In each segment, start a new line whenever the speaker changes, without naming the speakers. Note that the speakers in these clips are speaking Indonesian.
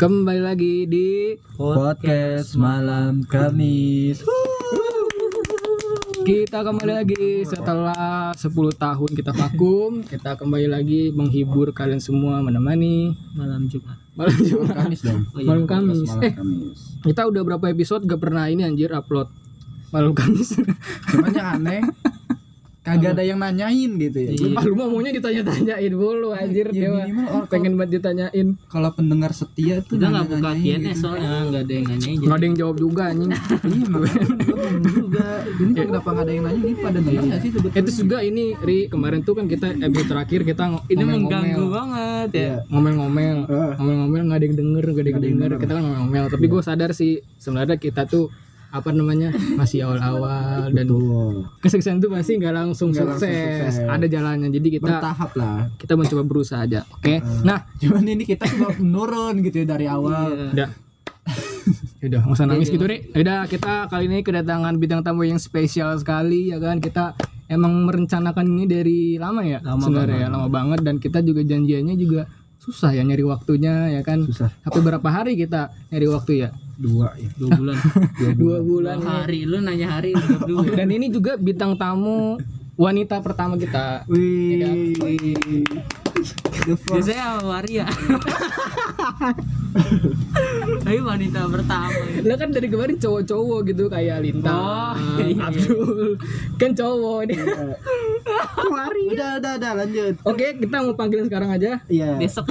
Kembali lagi di
Podcast malam Kamis.
kita kembali lagi setelah 10 tahun kita vakum, kita kembali lagi menghibur kalian semua menemani
malam Jumat.
malam Jumat,
Kamis dong.
Oh,
malam Kamis.
Malam
Eh,
Kamis.
kita udah berapa episode gak pernah ini anjir upload malam Kamis.
Cuman yang aneh kagak ada yang nanyain gitu ya.
Iya.
ah, lu mah maunya ditanya-tanyain mulu anjir
Ya,
dia mah.
minimal orang
Pengen banget ditanyain.
kalau pendengar setia tuh
Kita nggak buka ya.
nanya-nanyain
Q&A
gitu.
soalnya nggak ada yang nanyain.
Gak ada yang jawab juga anjing.
Iya, makanya gua bingung juga. Ini kok kenapa nggak ada yang nanya? Ini pada denger nggak sih sebetulnya?
Itu juga ini Ri kemarin tuh kan kita episode terakhir kita ngo-
Ini
ngomel-ngomel.
mengganggu banget ya.
Iya.
ngomel-ngomel
Eh.
ngomel-ngomel nggak ada yang denger nggak ada yang denger kita kan ngomel-ngomel tapi gue sadar sih sebenarnya kita tuh apa namanya masih awal-awal dan
Betul.
kesuksesan itu pasti nggak langsung
Nggak langsung
sukses. ya.
sukses.
ada jalannya jadi kita
Bertahap lah.
kita mencoba berusaha aja oke nah
Cuman ini kita sudah menurun gitu ya dari
Iya.
awal.
udah udah Hmm. nggak usah nangis gitu Ri udah kita kali ini kedatangan bintang tamu yang spesial sekali ya kan kita emang merencanakan ini dari lama ya
Lama
sebenarnya ya, lama banget dan kita juga janjiannya juga susah ya nyari waktunya ya kan
Susah.
Sampai berapa hari kita nyari waktu ya?
Dua ya.
Dua bulan.
Dua
Dua
bulan.
hari lu nanya hari lu jawab dua.
Dan ini juga bintang tamu wanita pertama kita.
Wih. The first
Biasanya sama waria. Tapi wanita pertama.
Lah kan dari kemarin cowok-cowok gitu kayak Linta,
Oh, iya.
Abdul. Kan cowok nih.
Udah, udah, udah, lanjut.
Oke, kita mau panggil sekarang aja.
Iya.
Besok.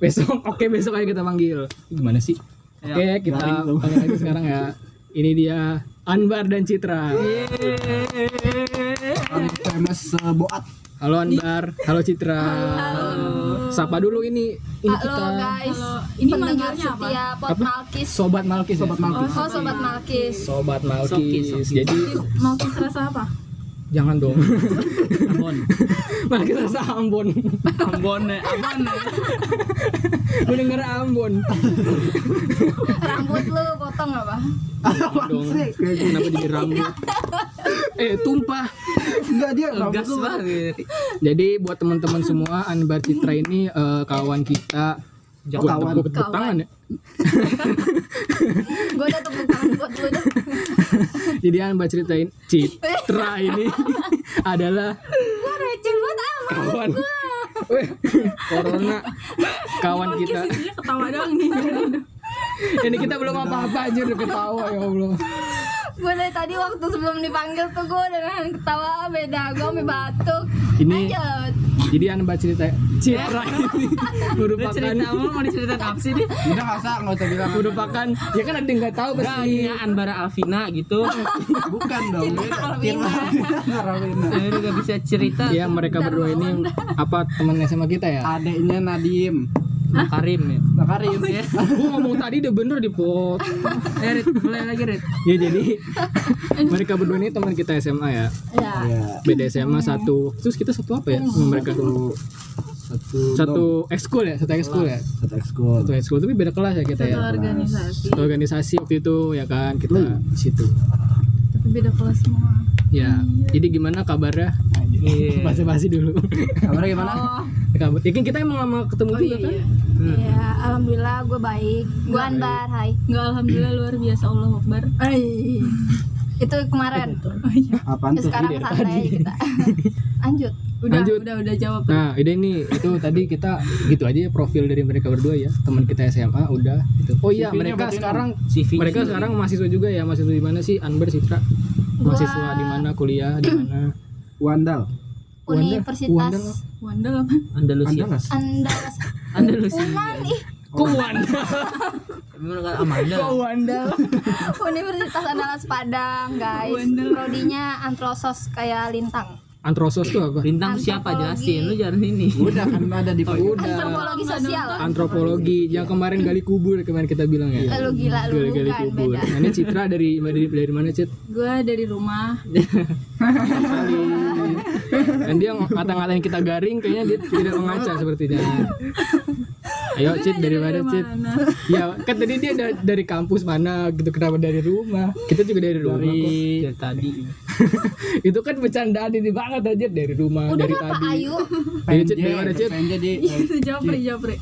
Besok, oke besok aja kita panggil. Gimana sih?
Ya.
Oke, kita
Garing lu.
panggil lagi sekarang ya. Ini dia Anbar dan Citra.
Orang famous uh, boat.
Halo Anbar, halo Citra. Sapa dulu ini ini kita
Halo guys,
Ini
pendengar
manggilnya apa?
setia Pot
Apa?
Malkis.
sobat Malkis. ya?
Sobat Malkis.
Oh, sobat Malkis.
Sobat
Sokis,
Malkis.
sokis.
Jadi
Malkis rasa apa?
Jangan dong.
Ambon.
Malah kita rasa Ambon.
Ambon ya. Ambon ya.
Gue denger Ambon.
Rambut lu potong apa?
dong. Kenapa jadi rambut? Eh, tumpah.
Enggak dia
Gas
rambut lu.
banget. Eh,
Jadi buat teman-teman semua, Anbar Citra ini eh, kawan kita.
Jangan
Gua-
kawan.
gua tepuk tangan ya.
Gue udah tepuk tangan buat lu dah.
Jadi Anbar ceritain Citra ini adalah
Lu receh banget ah, amat.
kawan. Weh, corona kawan kita.
Dia ketawa doang nih.
Ini kita belum apa-apa aja udah ketawa ya Allah.
gue dari tadi waktu sebelum dipanggil tuh gue udah nahan ketawa ah, beda. Gue sampe batuk.
Ini
Lanjut.
jadi Anbar cerita Citra ini
Lu
merupakan
cerita lu mau diceritain apa sih nih?
Udah enggak usah, enggak usah bilang.
merupakan ya kan ada yang nggak tahu
Enggak,
pasti
ini Anbara Alvina gitu.
Bukan dong. Rawina. Rawina.
Tapi lu nggak bisa cerita.
Ya mereka berdua ini apa teman SMA kita ya?
Adeknya Nadim.
Karim ya.
Nah, Karim.
Oh, iya.
Ya.
Gue ngomong tadi udah bener di pot.
Eh, Rit, mulai lagi Rit.
Ya jadi mereka berdua ini teman kita SMA ya.
Ya.
Iya.
Beda SMA satu. Terus kita satu apa ya sama mereka?
Satu satu dom,
Satu ekskul ya, satu ekskul ya.
satu ekskul.
Satu ekskul tapi beda kelas ya kita ya.
Organisasi.
Satu organisasi waktu itu ya kan kita di situ.
Tapi beda kelas semua.
Ya. Jadi gimana kabarnya?
Iya.
Basa-basi dulu.
Kabar gimana?
Oh,
Kabar. Ya kan kita emang lama ketemu juga kan?
iya. Alhamdulillah gue baik. Gue Anbar, hai.
Enggak, alhamdulillah luar biasa Allah Akbar.
Ay. Itu kemarin.
Apaan
Ya,
tuh? Iya,
sekarang santai aja kita. Lanjut.
Udah,
Lanjut.
udah, udah jawab.
Nah, ide nih itu tadi kita gitu aja ya profil dari mereka berdua ya. Teman kita SMA udah gitu. Oh iya,
CV-nya
mereka
berarti
sekarang
CV.
mereka sekarang mahasiswa juga ya. Mahasiswa di mana sih? Anbar Citra. Mahasiswa di mana? Kuliah di mana?
Wandal.
Wanda
Universitas
lah.
Wanda 8.
Andalusia.
Andalas.
Andalas
Iya.
Andalusia.
Unan ih.
Kok Wanda?
Bener kan
Iya.
Amanda.
Kok
Oh,
Wanda?
Universitas Andalas Padang, guys. Prodinya antrosos kayak lintang.
Antrosos tuh apa?
Bintang siapa
Antropologi.
jelasin lu jangan ini.
Udah kan ada di
Iya.
Udah.
Antropologi sosial.
Antropologi yang kemarin gali kubur kemarin kita bilang ya.
Lu gila lu
Gali-gali
bukan
kubur.
beda.
Nah, ini Citra dari dari, dari mana, Cit?
Gue dari rumah.
Dan dia ngata-ngatain kita garing kayaknya dia tidak mengaca sepertinya. Ayo Cit dari mana Cit?
mana?
Ya kan tadi dia da- dari kampus mana gitu kenapa dari rumah? Kita juga dari rumah kok.
Dari dari tadi.
Itu kan bercandaan ini banget aja dari rumah
Udah
dari
dah Pak
tadi.
Iya,
Ayu.
Ayo Cit dari mana Cit?
Iya.
Pengen jadi
Itu jawab, Ri, jawab, Ri.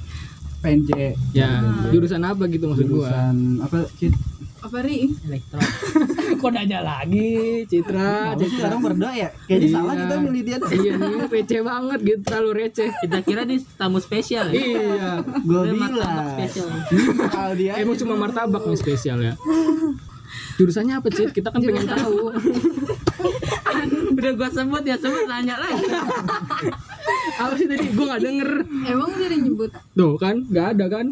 PNJ
Ya, jurusan apa gitu maksud gua?
jurusan apa cit
apa ri
elektro
Kok nanya lagi, Citra,
Nah, lu
Citra.
sekarang berdoa ya kayaknya
Iya.
salah kita milih dia deh
Iya nih, receh banget gitu, terlalu receh.
kita kira di tamu spesial ya
Iya.
gue
Dia
bilang
martabak spesial.
Ini kalau dia
Emang cuma martabak nih spesial ya. Jurusannya apa, Cit? Kita kan pengen tahu.
udah gua sebut ya sebut nanya lagi
Apa sih tadi? Gua nggak denger.
emang jadi nyebut
Tuh kan, nggak ada kan?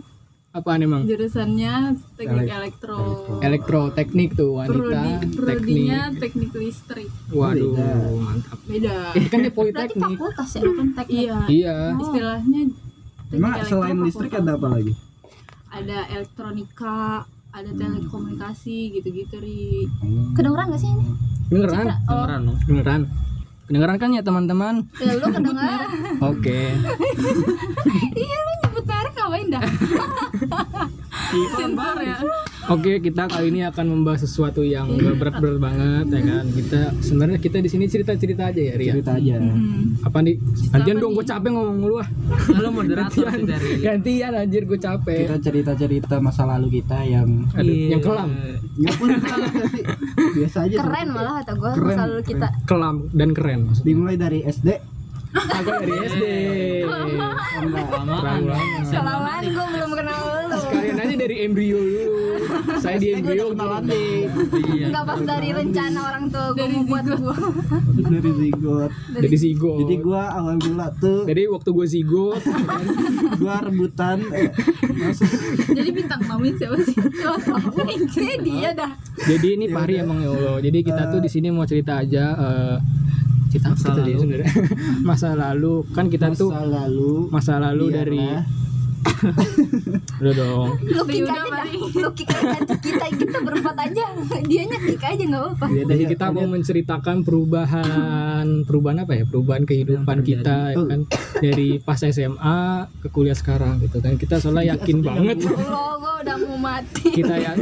Apaan emang?
jurusannya teknik
Elek-
elektro
Elektroteknik tuh
prodi
wanita
prodinya
teknik.
teknik listrik
Waduh,
Beda.
mantap.
beda
Kan dia
Berarti
politeknik.
fakultas ya, bukan teknik.
iya
Iya.
istilahnya
emang
teknik
selain
elektro
listrik
fakultas.
ada apa lagi
ada elektronika ada
Hmm.
telekomunikasi gitu-gitu ri
Kedengeran gak sih ini?
Beneran.
Oh,
beneran dong
Beneran. Kedengeran kan ya teman-teman?
ya
Iya,
lu kedengeran.
Oke.
Iya lu nyebut merek ngapain dah?
sensor ya
Oke, kita kali ini akan membahas sesuatu yang nggak berat-berat banget ya kan. Kita sebenarnya kita di sini cerita-cerita aja ya, Ria.
cerita aja
Hmm.
Apa nih? Gantian
apa
dong,
nih?
gue capek ngomong lu ah.
kalau moderator sih dari
Gantian anjir gue capek.
kita cerita cerita masa lalu kita yang
Aduh,
Iya.
yang kelam.
nggak punya kelam nggak sih? biasa aja
Keren
cerita.
malah kata gue
Keren,
selalu
keren.
kita.
Kelam dan keren maksudnya.
dimulai dari SD
Eh, Aku dari SD.
sama
kelamaan
Terlalu
Iya.
lama.
Kelamaan gue belum kenal lu.
Kalian aja dari embrio dulu. Saya di
gue udah
embrio.
kenalan deh
iya
Enggak pas dari rencana orang tua gue mau buat gue.
dari zigot
Dari zigot.
jadi gua awal mula tuh
Jadi waktu gue zigot,
gua rebutan eh, masuk
jadi bintang tamuin siapa sih
Jadi dia dah.
jadi ini Pari emang ya Allah. Jadi kita tuh di sini mau cerita aja eh, cerita apa
Masa
tadi
lalu.
sebenarnya? masa lalu kan kita tuh
masa lalu Iya,
masa lalu dari
Biarlah.
udah dong
Lu kick
Yaudah,
aja dah. Lu kick aja kita kita berempat aja. Dianya kick aja enggak apa-apa.
Iya,
jadi
dia-
ya, kita mau
dia-
menceritakan perubahan perubahan apa ya perubahan kehidupan
Yang terjadi.
kita ya kan dari pas SMA ke kuliah sekarang gitu kan kita soalnya yakin banget
Allah gue udah mau mati.
kita ya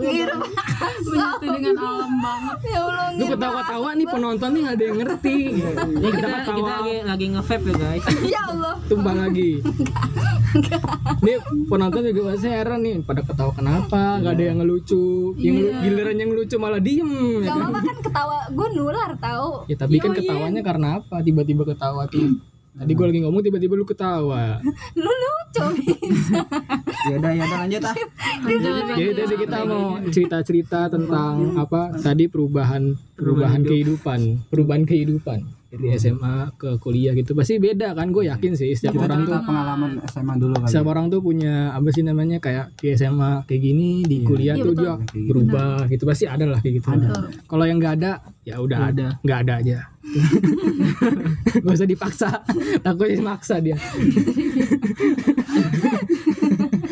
Ngirim
menyatu dengan alam banget
ya Allah.
lu
ngirim
ketawa-tawa nih penonton nih nggak ada yang ngerti
Ini
kita
Iya, kita, kita
ketawa
lagi, lagi nge-vape ya guys
Ya Allah.
tumbang lagi nih penonton juga pasti heran nih pada ketawa kenapa nggak ada yang ngelucu yang lu- giliran yang lucu malah diem ya
Gak
kan?
apa-apa kan ketawa gue nular tahu.
Ya tapi kan ketawanya karena apa? Tiba-tiba ketawa tuh. Tadi gue lagi ngomong tiba-tiba lu ketawa.
Lu lucu.
ya udah ya udah lanjut ah
Jadi tadi kita mau cerita-cerita tentang apa? Tadi perubahan perubahan kehidupan, perubahan kehidupan dari SMA ke kuliah gitu. Pasti beda kan? Gue yakin sih setiap
kita
orang
cerita
tuh
pengalaman SMA dulu kali
Iya.
setiap orang tuh punya apa sih namanya kayak di SMA kayak gini,
Iya.
di kuliah tuh dia berubah gitu. Pasti ada lah kayak gitu. Kalau yang nggak ada, ya udah
Iya.
ada, nggak ada aja. Gak usah dipaksa, takutnya maksa dia.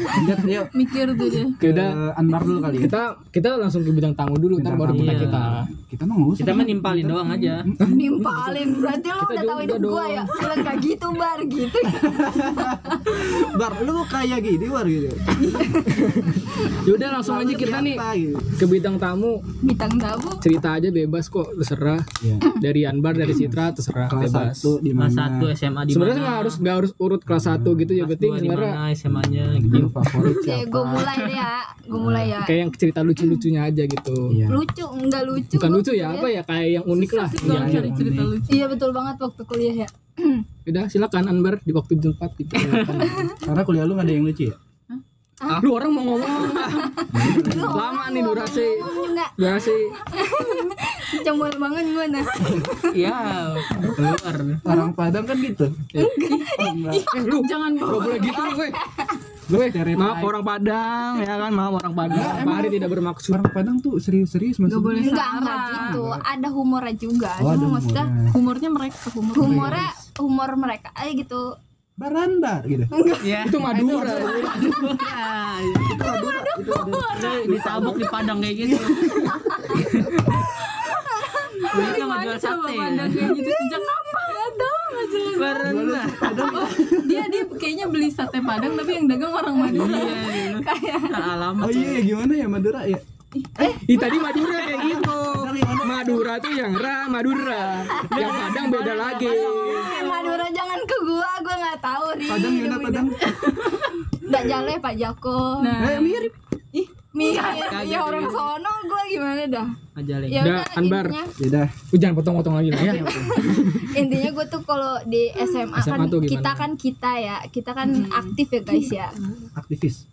lanjut yuk
mikir tuh dia
Oke,
ke
Ya udah
Anwar dulu kali ya
kita kita langsung ke bidang tamu dulu ntar
Bidang
baru
tamu.
kita
Iya.
kita
kita mah nggak usah
kita menimpalin doang aja
Nimpalin berarti lu
Kita
udah tahu
juga
hidup gue
dong.
ya. Lu gak gitu bar gitu.
bar lu kayak gini war gitu
yaudah Ya langsung aja kita nih
Apa gitu
ke bidang tamu
bintang tamu
cerita aja bebas kok terserah
ya
dari Anbar dari Citra terserah
kelas
bebas
satu di
kelas
mana
1 SMA di
sebenarnya
mana
nggak harus nggak harus urut kelas satu gitu ya
kelas
penting
2 di
sebenarnya
mana SMA-nya
guru favorit
Ya
siapa
gue mulai deh ya. Gue mulai ya.
kayak yang cerita lucu-lucunya aja gitu
Iya.
Lucu enggak lucu. Iya.
bukan
gua
lucu ya
kuliah.
apa ya kayak yang unik lah
Asik
Iya,
banget
iya,
cari cerita
unik.
lucu
Iya betul banget waktu kuliah ya.
udah silakan Anbar di waktu di tempat gitu
karena kuliah lu gak ada yang lucu ya
lu orang mau ngomong lama nih durasi
Enggak
durasi
cemur banget gue nah.
iya keluar
orang Padang kan gitu Oh,
eh lu
jangan bawa
Gak boleh gitu nih gue Gue
Stereotype.
maaf orang Padang ya kan maaf orang Padang Pak Hari tidak bermaksud
orang Padang tuh serius-serius masih
Nggak boleh
Enggak
sama
enggak gitu. Ada humornya juga.
Oh, ada
Cuma maksudnya
humornya.
humornya mereka humor
humornya humor mereka aja gitu.
baranda gitu
ya
itu Madura
Iya.
itu ada itu ada
ditabok di padang kayak gitu Ini sama jual
coba
sate ya?
pandang kayak gitu sejak kapan
Bareng lah.
dia dia kayaknya beli sate padang tapi yang dagang orang Madura
Iya,
Kayak
alamat
oh iya ya gimana ya Madura ya
Ih tadi Madura kayak gitu Madura tuh yang ra Madura Yang Padang beda lagi
eh, Madura jangan ke gua, gue nggak tahu ri
Padang gimana Padang?
nggak jale Pak Joko
Nah,
Eh mirip. Ih,
Mir,
Kaget
ya orang
gitu.
sono gue gimana dah
Ajale.
ya
Udah,
udah
Anbar.
intinya
beda.
Lu jangan potong-potong lagi lah ya.
intinya gue tuh kalau di SMA,
SMA
kan
tuh gimana?
kita kan kita ya kita kan aktif ya guys ya
Aktivis.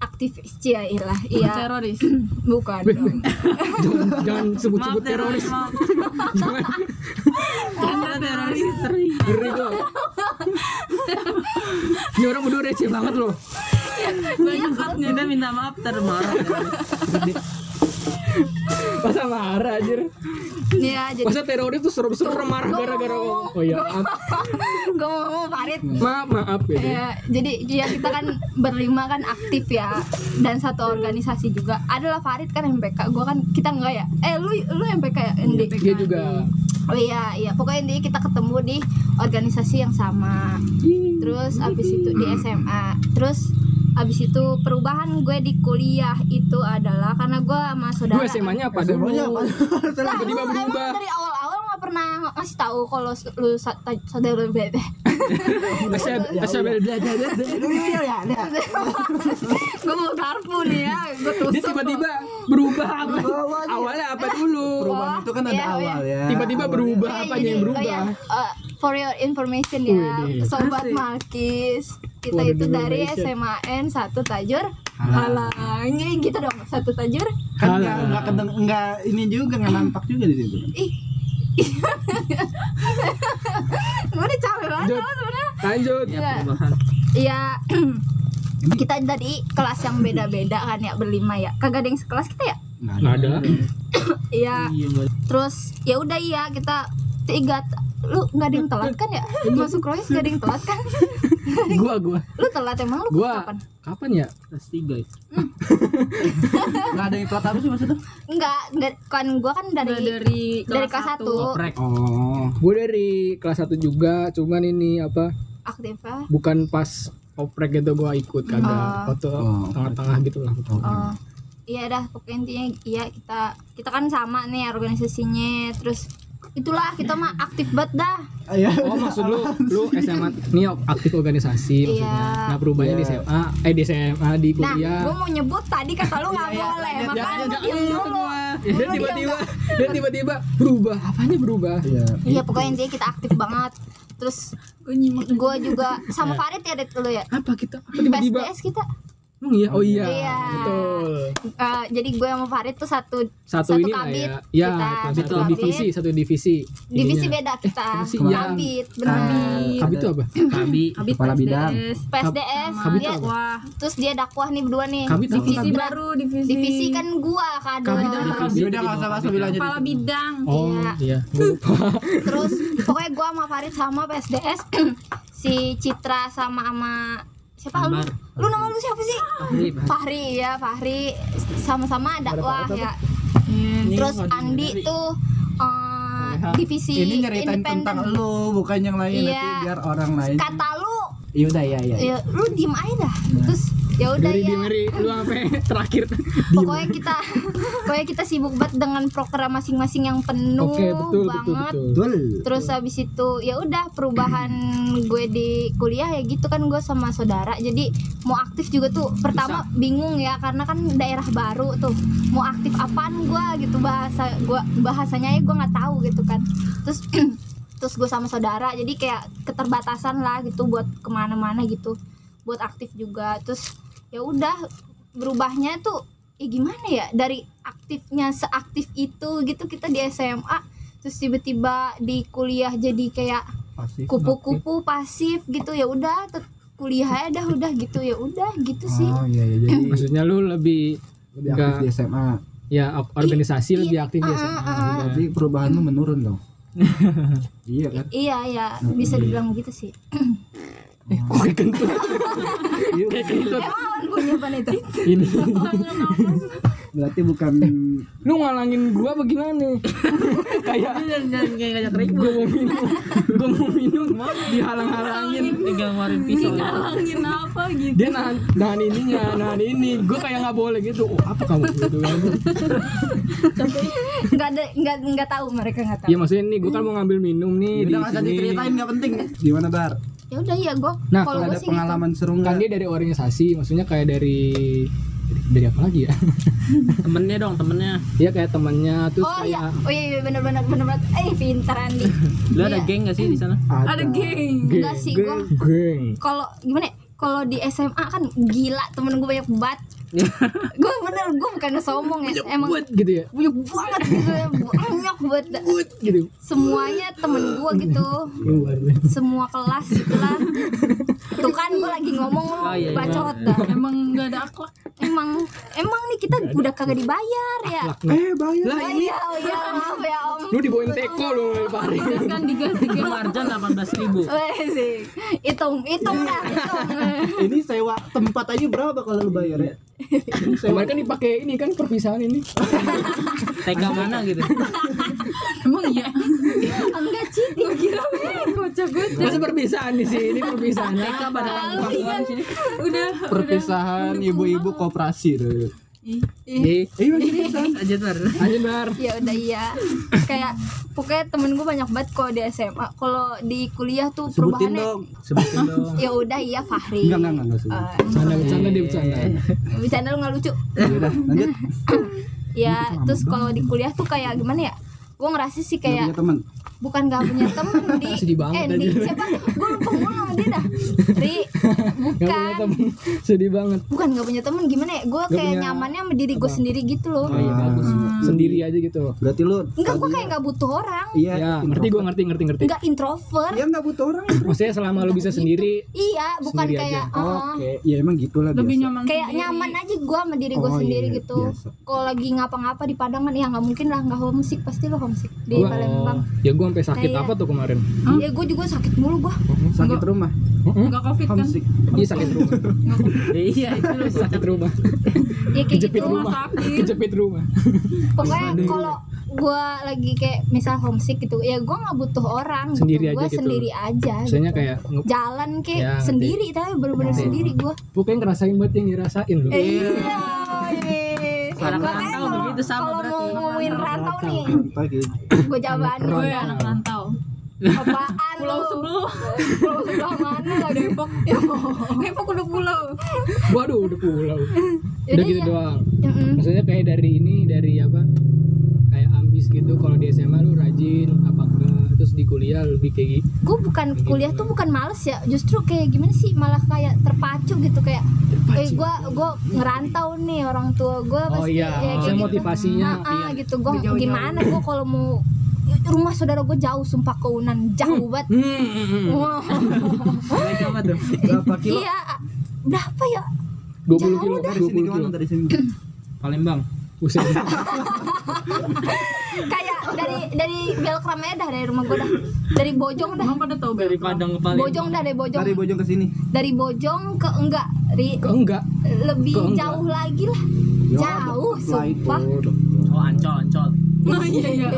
aktivis ya ilah
iya.
iya
teroris.
bukan dong.
jangan, jangan sebut-sebut
Maaf
teroris.
teroris, maaf.
Jangan
Anda teroris.
ngeri gua. Ini orang berdua receh banget loh.
Iya,
Kita minta maaf termarah.
Masa marah anjir.
Iya, jadi
Masa teroris tuh serem-serem marah gara-gara oh, oh iya maaf
gue mau ngomong Farid
maaf maaf gitu.
Ya, jadi ya kita kan berlima kan aktif ya dan satu organisasi juga. Adalah Farid kan MPK, gua kan kita enggak ya. Eh lu lu MPK ya? ND.
Dia juga
Oh iya, iya. Pokoknya intinya kita ketemu di organisasi yang sama. Terus abis itu di
Hmm.
SMA. Terus abis itu perubahan gue di kuliah itu adalah karena gue sama saudara.
Gue SMA-nya apa dulu?
Semuanya apa?
Lah, lu
tiba-tiba
emang
berubah.
dari awal-awal nggak pernah ngasih tahu kalau lu sa- ta- saudara lu bebe.
Ya
SMA
gue mau garpu nih ya, gue tusuk.
dia tiba-tiba berubah apa?
Bawah dia.
Awalnya apa dulu?
Perubahan itu kan ada
Iya, iya.
awal ya.
Tiba-tiba
Awalnya.
berubah
Iya,
apa
jadi,
yang berubah?
oh ya, uh, for your information ya,
Wih, deh.
sobat Malkis. Kita
Waduh,
itu dari
information.
SMAN satu tajur
Halang.
halang. Jadi gitu dong, satu tajur.
Kan nggak
Halang.
nggak kedeng nggak ini juga nggak nampak juga di situ.
Ih. Gue udah capek banget
Lanjut.
tau sebenarnya.
Lanjut.
Ya perubahan.
Iya. kita dari kelas yang beda-beda kan ya berlima ya. Kagak ada yang sekelas kita ya?
Nggak ada.
Iya.
Iya, Mbak.
Terus ya udah iya kita tiga lu nggak ada yang telat kan ya masuk rois nggak ada yang telat kan
Gua gua
lu telat emang lu
gua
kapan
kapan ya?
Kelas tiga. ya.
Nggak ada yang telat apa sih maksudnya?
Enggak, enggak kan gua kan dari
Udah dari
dari kelas satu
Oprek.
Oh.
Gua dari kelas 1 juga, cuman ini apa?
aktif ya.
Bukan pas oprek gitu gua ikut kagak.
Oh.
Foto
Oh.
tengah-tengah gitu lah.
Oh. Iya dah, pokoknya intinya iya kita kita kan sama nih organisasinya. Terus itulah kita mah aktif banget dah.
Iya.
Oh maksud lu lu SMA ini aktif organisasi maksudnya.
Iya.
Nah perubahannya di
Iya.
SMA eh di SMA di
Nah,
kuliah.
gua mau nyebut tadi kata lu nggak boleh, makanya lu Iya, diam dulu.
Dia
Lu
tiba-tiba
diam,
dia tiba-tiba berubah. Apanya berubah?
Iya.
Iya, pokoknya intinya kita aktif banget. Terus
Gue nyimak
gua juga sama Farid ya Det lu ya.
Apa kita? Apa Iya. tiba-tiba?
PSDS kita.
Emang iya, oh iya.
Iya.
Betul.
Eh, jadi gue sama Farid tuh satu
Satu,
Satu
ini lah
kabit
ya. Ya,
kita.
cuma
Satu
satu
kabit.
divisi, satu divisi.
divisi
Ininya.
beda kita.
apa sih? Iya.
Kabit,
Nah,
benar.
Kabit itu apa?
Iya.
Kabi.
Habis
Kepala bidang.
PSDS.
PSDS
kabit
dia
apa?
Wah,
terus dia dakwah nih berdua nih
Kabit apa?
divisi
Kabit.
baru, divisi.
divisi kan gua kadang
Kabit apa?
Ya udah nggak usah masuk bilang aja.
kepala bidang.
Oh, iya. Gua lupa.
terus pokoknya gua sama Farid sama PSDS si Citra sama sama siapa lu
Amar.
lu nama lu siapa sih
Fahri, Fahri.
Fahri ya Fahri sama-sama dakwah ya
Iya.
terus Andi tuh eh, divisi
Ini nyeritain tentang
independen
lu bukan yang lain
Iya.
nanti biar orang lain.
kata lu
Iya udah ya ya.
ya, lu diem aja dah terus ya udah
Dari di
ya
Mary lu apa terakhir?
pokoknya kita pokoknya kita sibuk banget dengan program masing-masing yang penuh
Oke, betul betul
banget
betul.
Betul.
Terus habis itu ya udah perubahan gue di kuliah ya gitu kan gue sama saudara. Jadi mau aktif juga tuh pertama bingung ya karena kan daerah baru tuh. Mau aktif apaan gue gitu bahasa gua bahasanya ya gue nggak tahu gitu kan. Terus terus gue sama saudara jadi kayak keterbatasan lah gitu buat kemana-mana gitu buat aktif juga terus ya udah berubahnya tuh ya gimana ya dari aktifnya seaktif itu gitu kita di SMA terus tiba-tiba di kuliah jadi kayak
Pasti.
kupu-kupu pasif gitu ya udah tet- kuliah aja dah udah gitu ya udah gitu sih
Oh iya iya jadi
Maksudnya lu lebih
lebih aktif
Nggak.
di SMA.
ya op- organisasi
Iya,
lebih aktif ya.
ah,
sama.
ah, ah.
Iya.
Berarti perubahan lu menurun dong. iya kan?
iya ya bisa dibilang gitu sih
Eh, kok kayak kentut? kayak kentut.
emang gue nyimpan itu
Iya. Ini.
Berarti bukan
Lu ngalangin gua apa gimana? kayak
Jangan jangan kayak ngajak ribut.
gua mau minum. Gua mau minum dihalang-halangin.
Digambarin pisau.
Angin apa gitu.
Dia nahan, nahan ininya, nahan ini. Gua kayak nggak boleh gitu. Oh, apa kamu gitu kan?
nggak ada nggak nggak tahu mereka nggak tahu
Iya, Ya maksudnya nih gua kan mau ngambil minum nih
Iya, Udah
di
nggak usah
sini.
diceritain nggak penting. Gimana Bar?
ya udah ya gue
Nah, kalau
kalau
ada
gue sih gitu
pengalaman seru
kan
nggak?
dia dari organisasi maksudnya kayak dari dari, dari apa lagi ya
Temennya dong, temennya.
dia kayak temannya terus
oh iya
kayak
oh iya iya, bener-bener bener-bener eh pinter Andi
Lu ada
Iya.
geng gak sih di sana?
Iya.
Ada geng.
Enggak sih,
geng,
gua-
geng.
kalau gimana ya kalau di SMA kan gila temen gue banyak banget gue bener gue bukan sombong ya emang
Buat gitu ya
banyak banget gitu ya banyak buat
buat gitu
semuanya temen gue gitu semua kelas gitulah tuh kan gue lagi ngomong lu
Oh, iya, iya.
bacot dah.
Emang nggak ada akhlak.
Iya,
emang emang nih kita udah kagak dibayar ya
eh bayar
Oh iya, oh iya, maaf ya om
lu dibawain teko lu paling
Terus kan digas
Gue
digas.
marjan 18 ribu.
Weh sih, hitung, hitung dah, hitung
ini sewa tempat aja berapa kalau lu bayar
Iya.
ya?
kemarin kan dipakai ini kan perpisahan ini
TK mana gitu?
Emang iya.
Enggak cheating
Kira kocak gue.
masa perpisahan di sini perpisahan
TK pada tanggung jawab sini.
Udah.
Perpisahan ibu-ibu koperasi tuh.
Iya.
Ih,
Iya gini
Aja ter.
lanjut bar
Ya udah iya Kayak pokoknya temen gue banyak banget kalau di SMA Kalau di kuliah tuh
Sebutin dong,
perubahannya
sebutin dong.
Ya udah iya Fahri
Enggak enggak enggak enggak sebut.
Eh,
bercanda bercanda dia bercanda
Bercanda lu gak lucu
Ya udah, lanjut.
Ya terus kalau di kuliah tuh kayak gimana ya Gue ngerasa sih
Nggak
kayak
punya teman.
bukan gak punya temen di
Sedih banget
eh, di,
aja.
siapa gue lupa mulu sama dia dah Ri
Gak punya
bukan
temen sedih banget
bukan gak punya temen gimana ya gue
Nggak
kayak
punya-
nyamannya sama diri gue
apa?
sendiri gitu loh
oh iya bagus sendiri aja gitu
Berarti lu
enggak gue
tadinya-
kayak gak butuh orang
Iya,
ya ngerti gue ngerti ngerti ngerti
enggak introvert
Iya enggak butuh orang.
maksudnya selama lu bisa sendiri
iya bukan
Sendiri
kayak
aja. Oh,
"Ah,
Oke, ya emang gitulah
Lebih
biasa.
nyaman.
kayak
sendiri.
nyaman aja gue sama diri gue
Oh,
sendiri
iya,
gitu
biasa.
kalau lagi ngapa-ngapa di Padang kan ya nggak mungkin lah nggak homesick pasti lo homesick di
gua
Palembang
ya gua sampai sakit
Kayak-
apa tuh kemarin
Hah?
ya gue juga sakit mulu gue
Sakit rumah,
Nggak covid kan?
homesick.
iya sakit rumah
Iya, itu lu
sakit rumah
ya kayak
Kejepit
gitu
rumah.
Sakit.
kejepit rumah
pokoknya kalau gue lagi kayak misal homesick gitu ya gue nggak butuh orang
Sendiri aja
gitu. gue
gitu.
sendiri aja
Maksudnya
gitu.
kayak nge-
jalan kayak
Ya, ngerti.
sendiri tapi bener-bener
Ngerti.
sendiri gue
pokoknya ngerasain banget yang dirasain lu
iya
Anak
makanya
rantau
kalau
begitu sama
kalau mau
berarti.
ngomongin rantau nih
Rantau gitu.
gue jawaban
Gue
gue
anak rantau.
apaan
Pulau
lu?
sebelah.
pulau sebelah mana lagi
Depok. Depok udah pulau.
waduh udah pulau udah
Yaudah,
gitu
iya.
doang
Mm-mm.
maksudnya kayak dari ini dari apa kayak ambis gitu kalau di SMA lu rajin apa enggak terus di kuliah lebih kayak gitu
gue bukan
Begitu.
kuliah tuh bukan males ya justru kayak gimana sih malah kayak terpacu gitu kayak eh gue gue ngerantau nih orang tua gue
oh
pasti
iya
ya,
maksudnya motivasinya
Ah, ah,
iya
gitu gue
Jauh-jauh.
gimana gue kalau mau rumah saudara gue jauh sumpah ke Unan jauh banget
Hmm, hmm, hmm.
Wah,
Mereka apa tuh?
Berapa kilo?
iya berapa ya
20 kilo,
Dari
20
sini
kilo.
kemana? Dari sini.
Palembang.
Buset.
kayak dari dari Belkram aja dah dari rumah gue dah dari Bojong dah
Emang pada tahu Nah,
Dari
Belkram?
Padang ke Palembang.
Bojong dah dari Bojong
Dari Bojong ke sini.
dari Bojong ke enggak Ri.
Kok enggak? Ke
lebih
Enggak.
jauh lagi lah
Ya,
jauh sumpah
Oh, Ancol, Ancol.
Oh iya iya.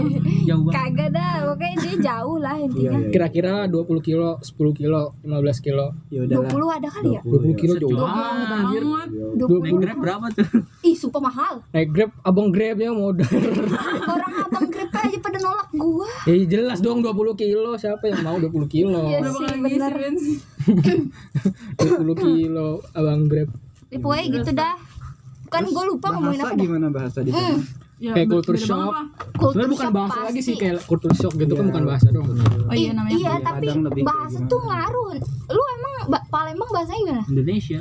Jauh banget.
Kagak dah, pokoknya dia jauh lah
Iya,
intinya.
iya.
Kira-kira 20 kilo, 10 kilo, 15 kilo.
Ya udah lah.
20 ada kali ya?
20 kilo jauh.
Sejuta.
banget.
Banget.
Naik
20.
grab berapa tuh?
Ih, sumpah mahal.
Naik Grab, abang Grabnya modal.
Orang abang grip aja pada nolak gua.
Ya jelas dong 20 kilo, siapa yang mau 20 kilo?
Iya.
Berapa
Sih,
kali ngisi
bener.
bensin?
20 kilo abang Grab.
Ya, pokoknya gitu dah. Kan gua lupa ngomongin
Bahasa
apa dah.
gimana bahasa di sana?
Ya,
Kayak
beda
culture
banget
shock.
lah.
Kultur
Sebenarnya bukan
shock
bahasa lagi sih
pasti.
kayak culture shock gitu kan
Iya.
bukan bahasa dong.
Oh iya
I-
namanya.
iya,
Padang
tapi
lebih kayak
bahasa
gimana?
tuh ngaruh. Lu emang ba- Palembang bahasanya gimana?
Indonesia.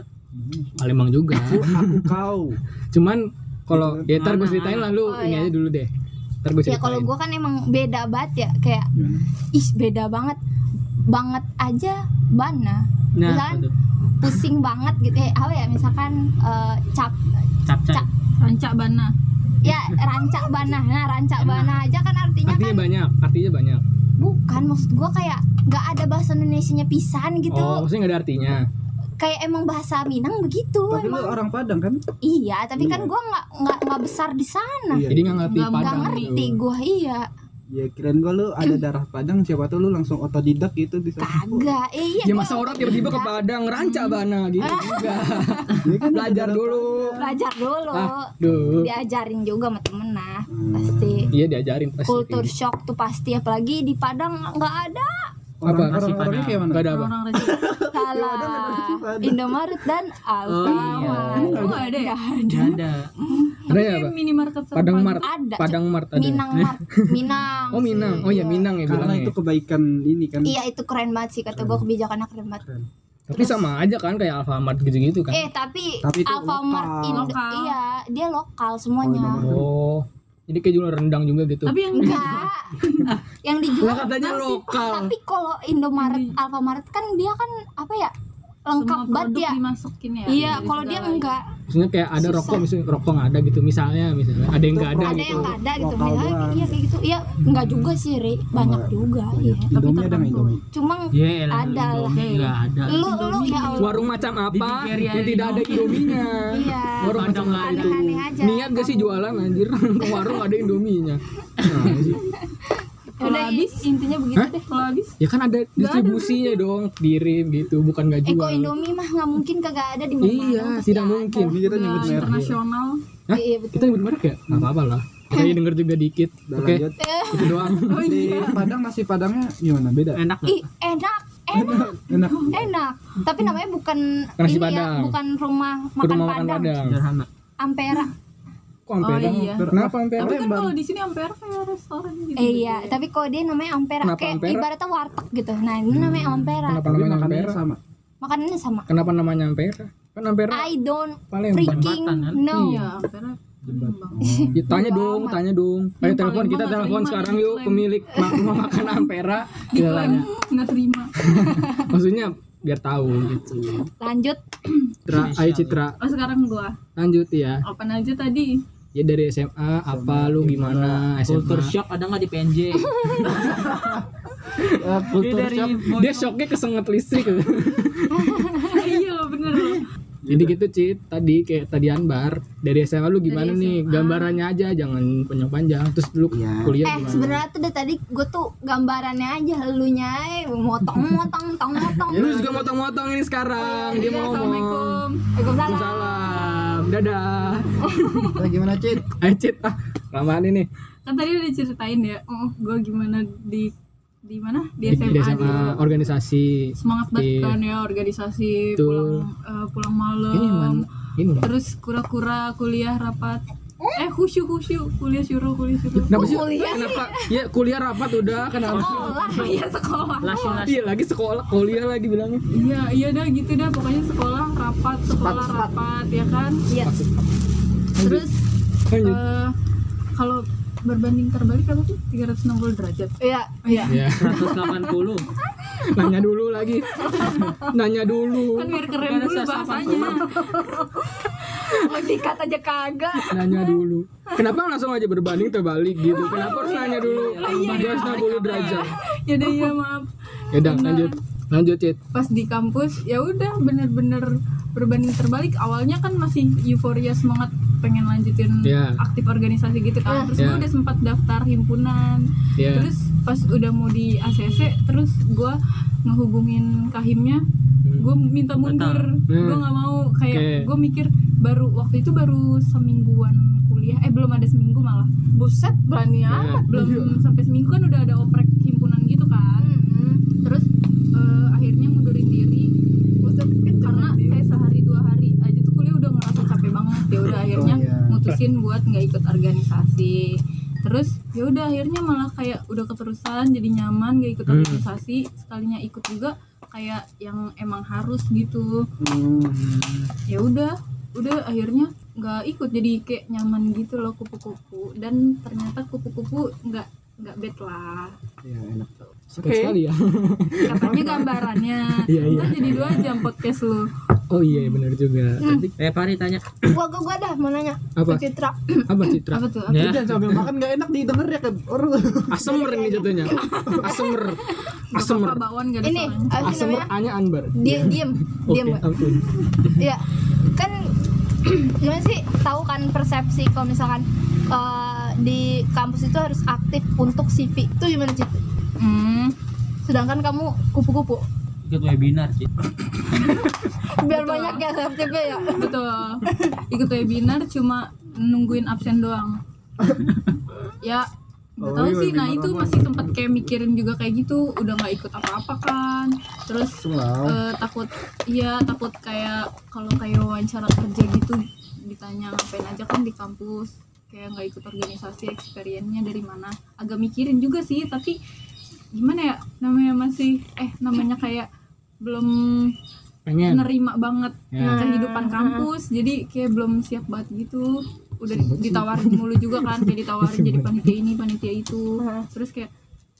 Palembang juga.
Aku kau.
Cuman kalau ya ntar gue
Mana?
ceritain lah lu
Oh,
ini
iya.
aja dulu deh. Ntar gue
Ya
ceritain.
kalau gua kan emang beda banget ya, kayak
Gimana?
ih beda banget. Banget aja bana.
Nah,
Misalkan
itu.
pusing banget gitu. Eh, apa ya misalkan eh, cap
Capcay.
Cap.
Rancak Bana.
ya rancak bana. Nah, rancak bana aja kan artinya
Artinya
kan
banyak, artinya banyak.
bukan maksud gua kayak nggak ada bahasa Indonesianya pisan gitu
Oh, maksudnya gak ada artinya.
Iya,
kayak emang bahasa Minang begitu
Tapi lu
emang
orang Padang kan?
iya tapi
Iya.
kan gua nggak nggak nggak besar di sana
Iya.
Jadi gak ngerti
Nggak- nggak
nggak
Padang.
ngerti gua iya
Ya kirain gua lu ada darah Padang, siapa tuh lu langsung otodidak gitu bisa.
kagak eh, iya
Ya
gua Hmm.
masa orang tiba-tiba ke Padang rancak bana gitu
Ah,
juga.
Iya kan?
Belajar dulu.
belajar dulu
Ah. Duh.
diajarin juga sama temen lah pasti
Iya diajarin pasti.
kultur shock tuh pasti apalagi di Padang nggak ada
Apa?
Orang- orang-orangnya kayak mana?
Gak ada apa?
orang-orang receh
Salah. Indomaret
Oh,
dan
iya.
Alfamart.
Emang nggak ada ya?
Nggak ada.
Ada ya
Kayak
apa?
minimarket sama
Padang Mart.
Ada.
Padang Mart ada. Eh,
Minang Mart. Minang.
Oh Minang. Oh ya Minang ya
Karena
bilangnya.
itu kebaikan ini kan.
Iya itu keren banget sih kata gue kebijakannya keren banget.
Tapi sama aja kan kayak Alfamart gitu-gitu kan.
Eh tapi,
Tapi itu
Alfamart
lokal.
Indo-
Lokal.
iya dia lokal
Oh,
semuanya.
Indomaret.
Oh. Jadi kayak jual rendang juga gitu.
Tapi yang
Enggak. yang dijual
Lah katanya lokal.
tapi kalau Indomaret Alfamart kan dia kan apa ya lengkap
semua
banget
produk
ya.
dimasukin ya.
Iya,
Dari
kalau dia
segala-
enggak
Maksudnya kayak ada
Susah.
rokok misalnya rokok nggak ada gitu misalnya misalnya ada yang nggak ada
ada
gitu.
yang nggak ada gitu.
Lokal
Misalnya
doang.
iya kayak gitu. Iya, enggak juga sih, Ri. Banyak juga, iya.
Indomie ada nggak
tertentu.
Indomie?
Cuma
Ya elah,
Ada lah.
Indomie nggak ada.
lu lu ya Allah.
Warung macam apa
Di
yang
Nigeria
tidak ada
Indomie.
indominya?
Iya.
Warung macam
Padang
apa
ada.
itu?
Aneh-aneh aja.
Niat gak sih jualan anjir? Ke warung ada indominya. Nah,
Kalau
Udah
habis,
intinya begitu
Hah?
deh.
kalau habis
ya kan ada distribusinya dong, kirim gitu, bukan nggak
Eko
jual.
Indomie mah nggak mungkin kagak ada di mana
Iya, tidak mungkin.
Ini kita nyebut
udah
merek.
internasional
Hah?
Iya, betul.
Kita nyebut merek ya? Gak apa-apa lah. Saya denger juga dikit.
Udah
Oke,
lanjut.
itu doang.
oh
Di
iya
Padang nasi Padangnya gimana? Beda.
Enak nggak?
Ih, enak, enak,
Enak.
enak. Tapi namanya bukan
Nasi
ini
Padang.
ya, bukan rumah
Ke
makan
rumah makan
Padang.
Padang.
Sederhana.
Ampera.
Hmm. Kok Ampera?
Oh, iya.
Kenapa Ampera?
tapi kan
Palembang.
kalau di sini Ampera kayak restoran gitu
Eh, iya, tapi kok dia namanya Ampera
Kenapa
kayak
Ampera? Hmm.
ibaratnya warteg gitu. Nah, ini namanya Ampera.
Kenapa
Tapi
namanya
makanannya
Ampera?
sama.
Makanannya sama.
Kenapa namanya Ampera? Kan Ampera
I don't
Palembang.
freaking
Jembatan, kan?
know.
iya Ampera Palembang.
Ya, tanya dong,
amat.
tanya dong. Ayo
Yang
telepon
paling
kita
banget
telepon
terima
sekarang
di
yuk
klaim.
pemilik ma- rumah makan Ampera. Kita
Diklaim
tanya.
nggak terima
Maksudnya biar tahu gitu.
Lanjut.
Citra, ayo Citra,
oh sekarang gua
lanjut ya.
open aja tadi
Ya dari SMA apa lu gimana
Culture
SMA?
shock ada nggak di PNJ?
Iya,
Eh,
Dia
Kultur
dari
shock.
Boyong.
Dia shocknya kesengat listrik.
Ah, iya bener loh
Jadi
Iya.
gitu Cit, tadi kayak tadi Anbar dari SMA lu gimana
Dari
nih?
SMA.
Gambarannya aja jangan panjang-panjang. Terus lu
Iya.
kuliah
eh,
gimana?
sebenarnya tuh dari tadi gue tuh gambarannya aja elunya eh, motong-motong, tong-motong.
Lu juga motong-motong ini sekarang. Dia
Iya,
mau ngomong.
assalamualaikum
Waalaikumsalam.
Waalaikumsalam. Dadah.
Eh, Gimana Cid?
Ayo Cit, ah, lamaan ini.
kan tadi udah ceritain ya oh gue gimana di di mana
Di
di SMA,
di SMA
dulu.
organisasi.
semangat banget
Iya.
kan ya organisasi
Betul.
pulang eh, pulang
Ini
malam
mana? Ini. mana?
terus kura-kura kuliah rapat eh khusyuk khusyuk kuliah syuruh kuliah syuruh
Kenapa sih?
kuliah sih?
Kenapa? Ya kuliah rapat udah kenapa? sih?
Oh lah.
iya sekolah
Langsung langsung.
Iya lagi sekolah kuliah lagi bilangnya.
iya iya dah gitu dah pokoknya sekolah rapat sekolah rapat ya kan
Iya.
terus
Lanjut.
eh, kalau berbanding terbalik apa sih 360 derajat
Iya.
Ya,
iya
180.
nanya dulu lagi. Nanya
kan
dulu.
biar keren
Karena
dulu
saya sama
bahasanya
Mau Oh, dikat aja kagak.
Nanya dulu. Kenapa langsung aja berbanding terbalik gitu? Kenapa harus nanya dulu? 360 derajat.
ya udah ya maaf
Ya udah lanjut. Lanjut, Cit.
pas di kampus ya udah bener-bener berbanding terbalik awalnya kan masih euforia semangat pengen lanjutin
Iya.
aktif organisasi gitu kan
Iya.
terus gue udah sempat daftar himpunan
Ya.
terus pas udah mau di ACC terus gue ngehubungin kahimnya gue minta mundur
Hmm.
gue nggak mau kayak
Oke.
gue mikir baru waktu itu baru semingguan kuliah eh belum ada seminggu malah buset berani
Iya.
amat belum sampai seminggu kan udah ada oprek himpunan gitu kan
Hmm.
terus eh, akhirnya mundurin diri karena kayak sehari dua hari aja tuh kuliah udah ngerasa capek banget ya udah akhirnya
iya.
mutusin buat nggak ikut organisasi terus ya udah akhirnya malah kayak udah keterusan jadi nyaman nggak ikut
Hmm.
organisasi sekalinya ikut juga kayak yang emang harus gitu
Hmm,
ya udah udah akhirnya nggak ikut jadi kayak nyaman gitu loh kupu-kupu dan ternyata kupu-kupu nggak nggak bad lah
Ya enak.
Sekali sekali ya.
katanya gambarannya
Iya, iya.
Ntar jadi dua jam podcast lu
Oh iya benar juga. Tapi
Eh Pari tanya.
Gua gua gua dah mau nanya.
Apa?
Ke Citra.
apa Citra?
apa tuh
Ya.
Jangan sambil makan nggak enak didengar ya ke orang.
Asemer ini jatuhnya. Asemer.
Gak
Asemer.
apa-apa, bakwan gak ada
Ini
salahnya.
apa sih
Asemer
namanya?
hanya Anbar.
Dia diam,
Oke,
diam. Mbak.
ampun.
Iya. Kan gimana sih tahu kan persepsi kalau misalkan eh, di kampus itu harus aktif untuk CV. Itu gimana sih?
Hmm,
Sedangkan kamu kupu-kupu.
Ikut webinar sih.
Biar
Betul.
banyak ya aktifnya ya.
betul ikut webinar cuma nungguin absen doang ya Gak
Oh,
tahu
iya,
sih, nah
lima
itu
nomor.
masih sempat kayak mikirin juga kayak gitu, udah nggak ikut apa-apa kan. Terus
Wow.
eh, takut, iya takut kayak kalau kayak wawancara kerja gitu ditanya ngapain aja kan di kampus, kayak nggak ikut organisasi, experience-nya dari mana. Agak mikirin juga sih, tapi gimana ya namanya masih eh namanya kayak belum
pengen
nerima banget
Ya.
kehidupan kampus jadi kayak belum siap banget gitu udah ditawarin mulu juga kan kayak ditawarin jadi panitia ini panitia itu terus kayak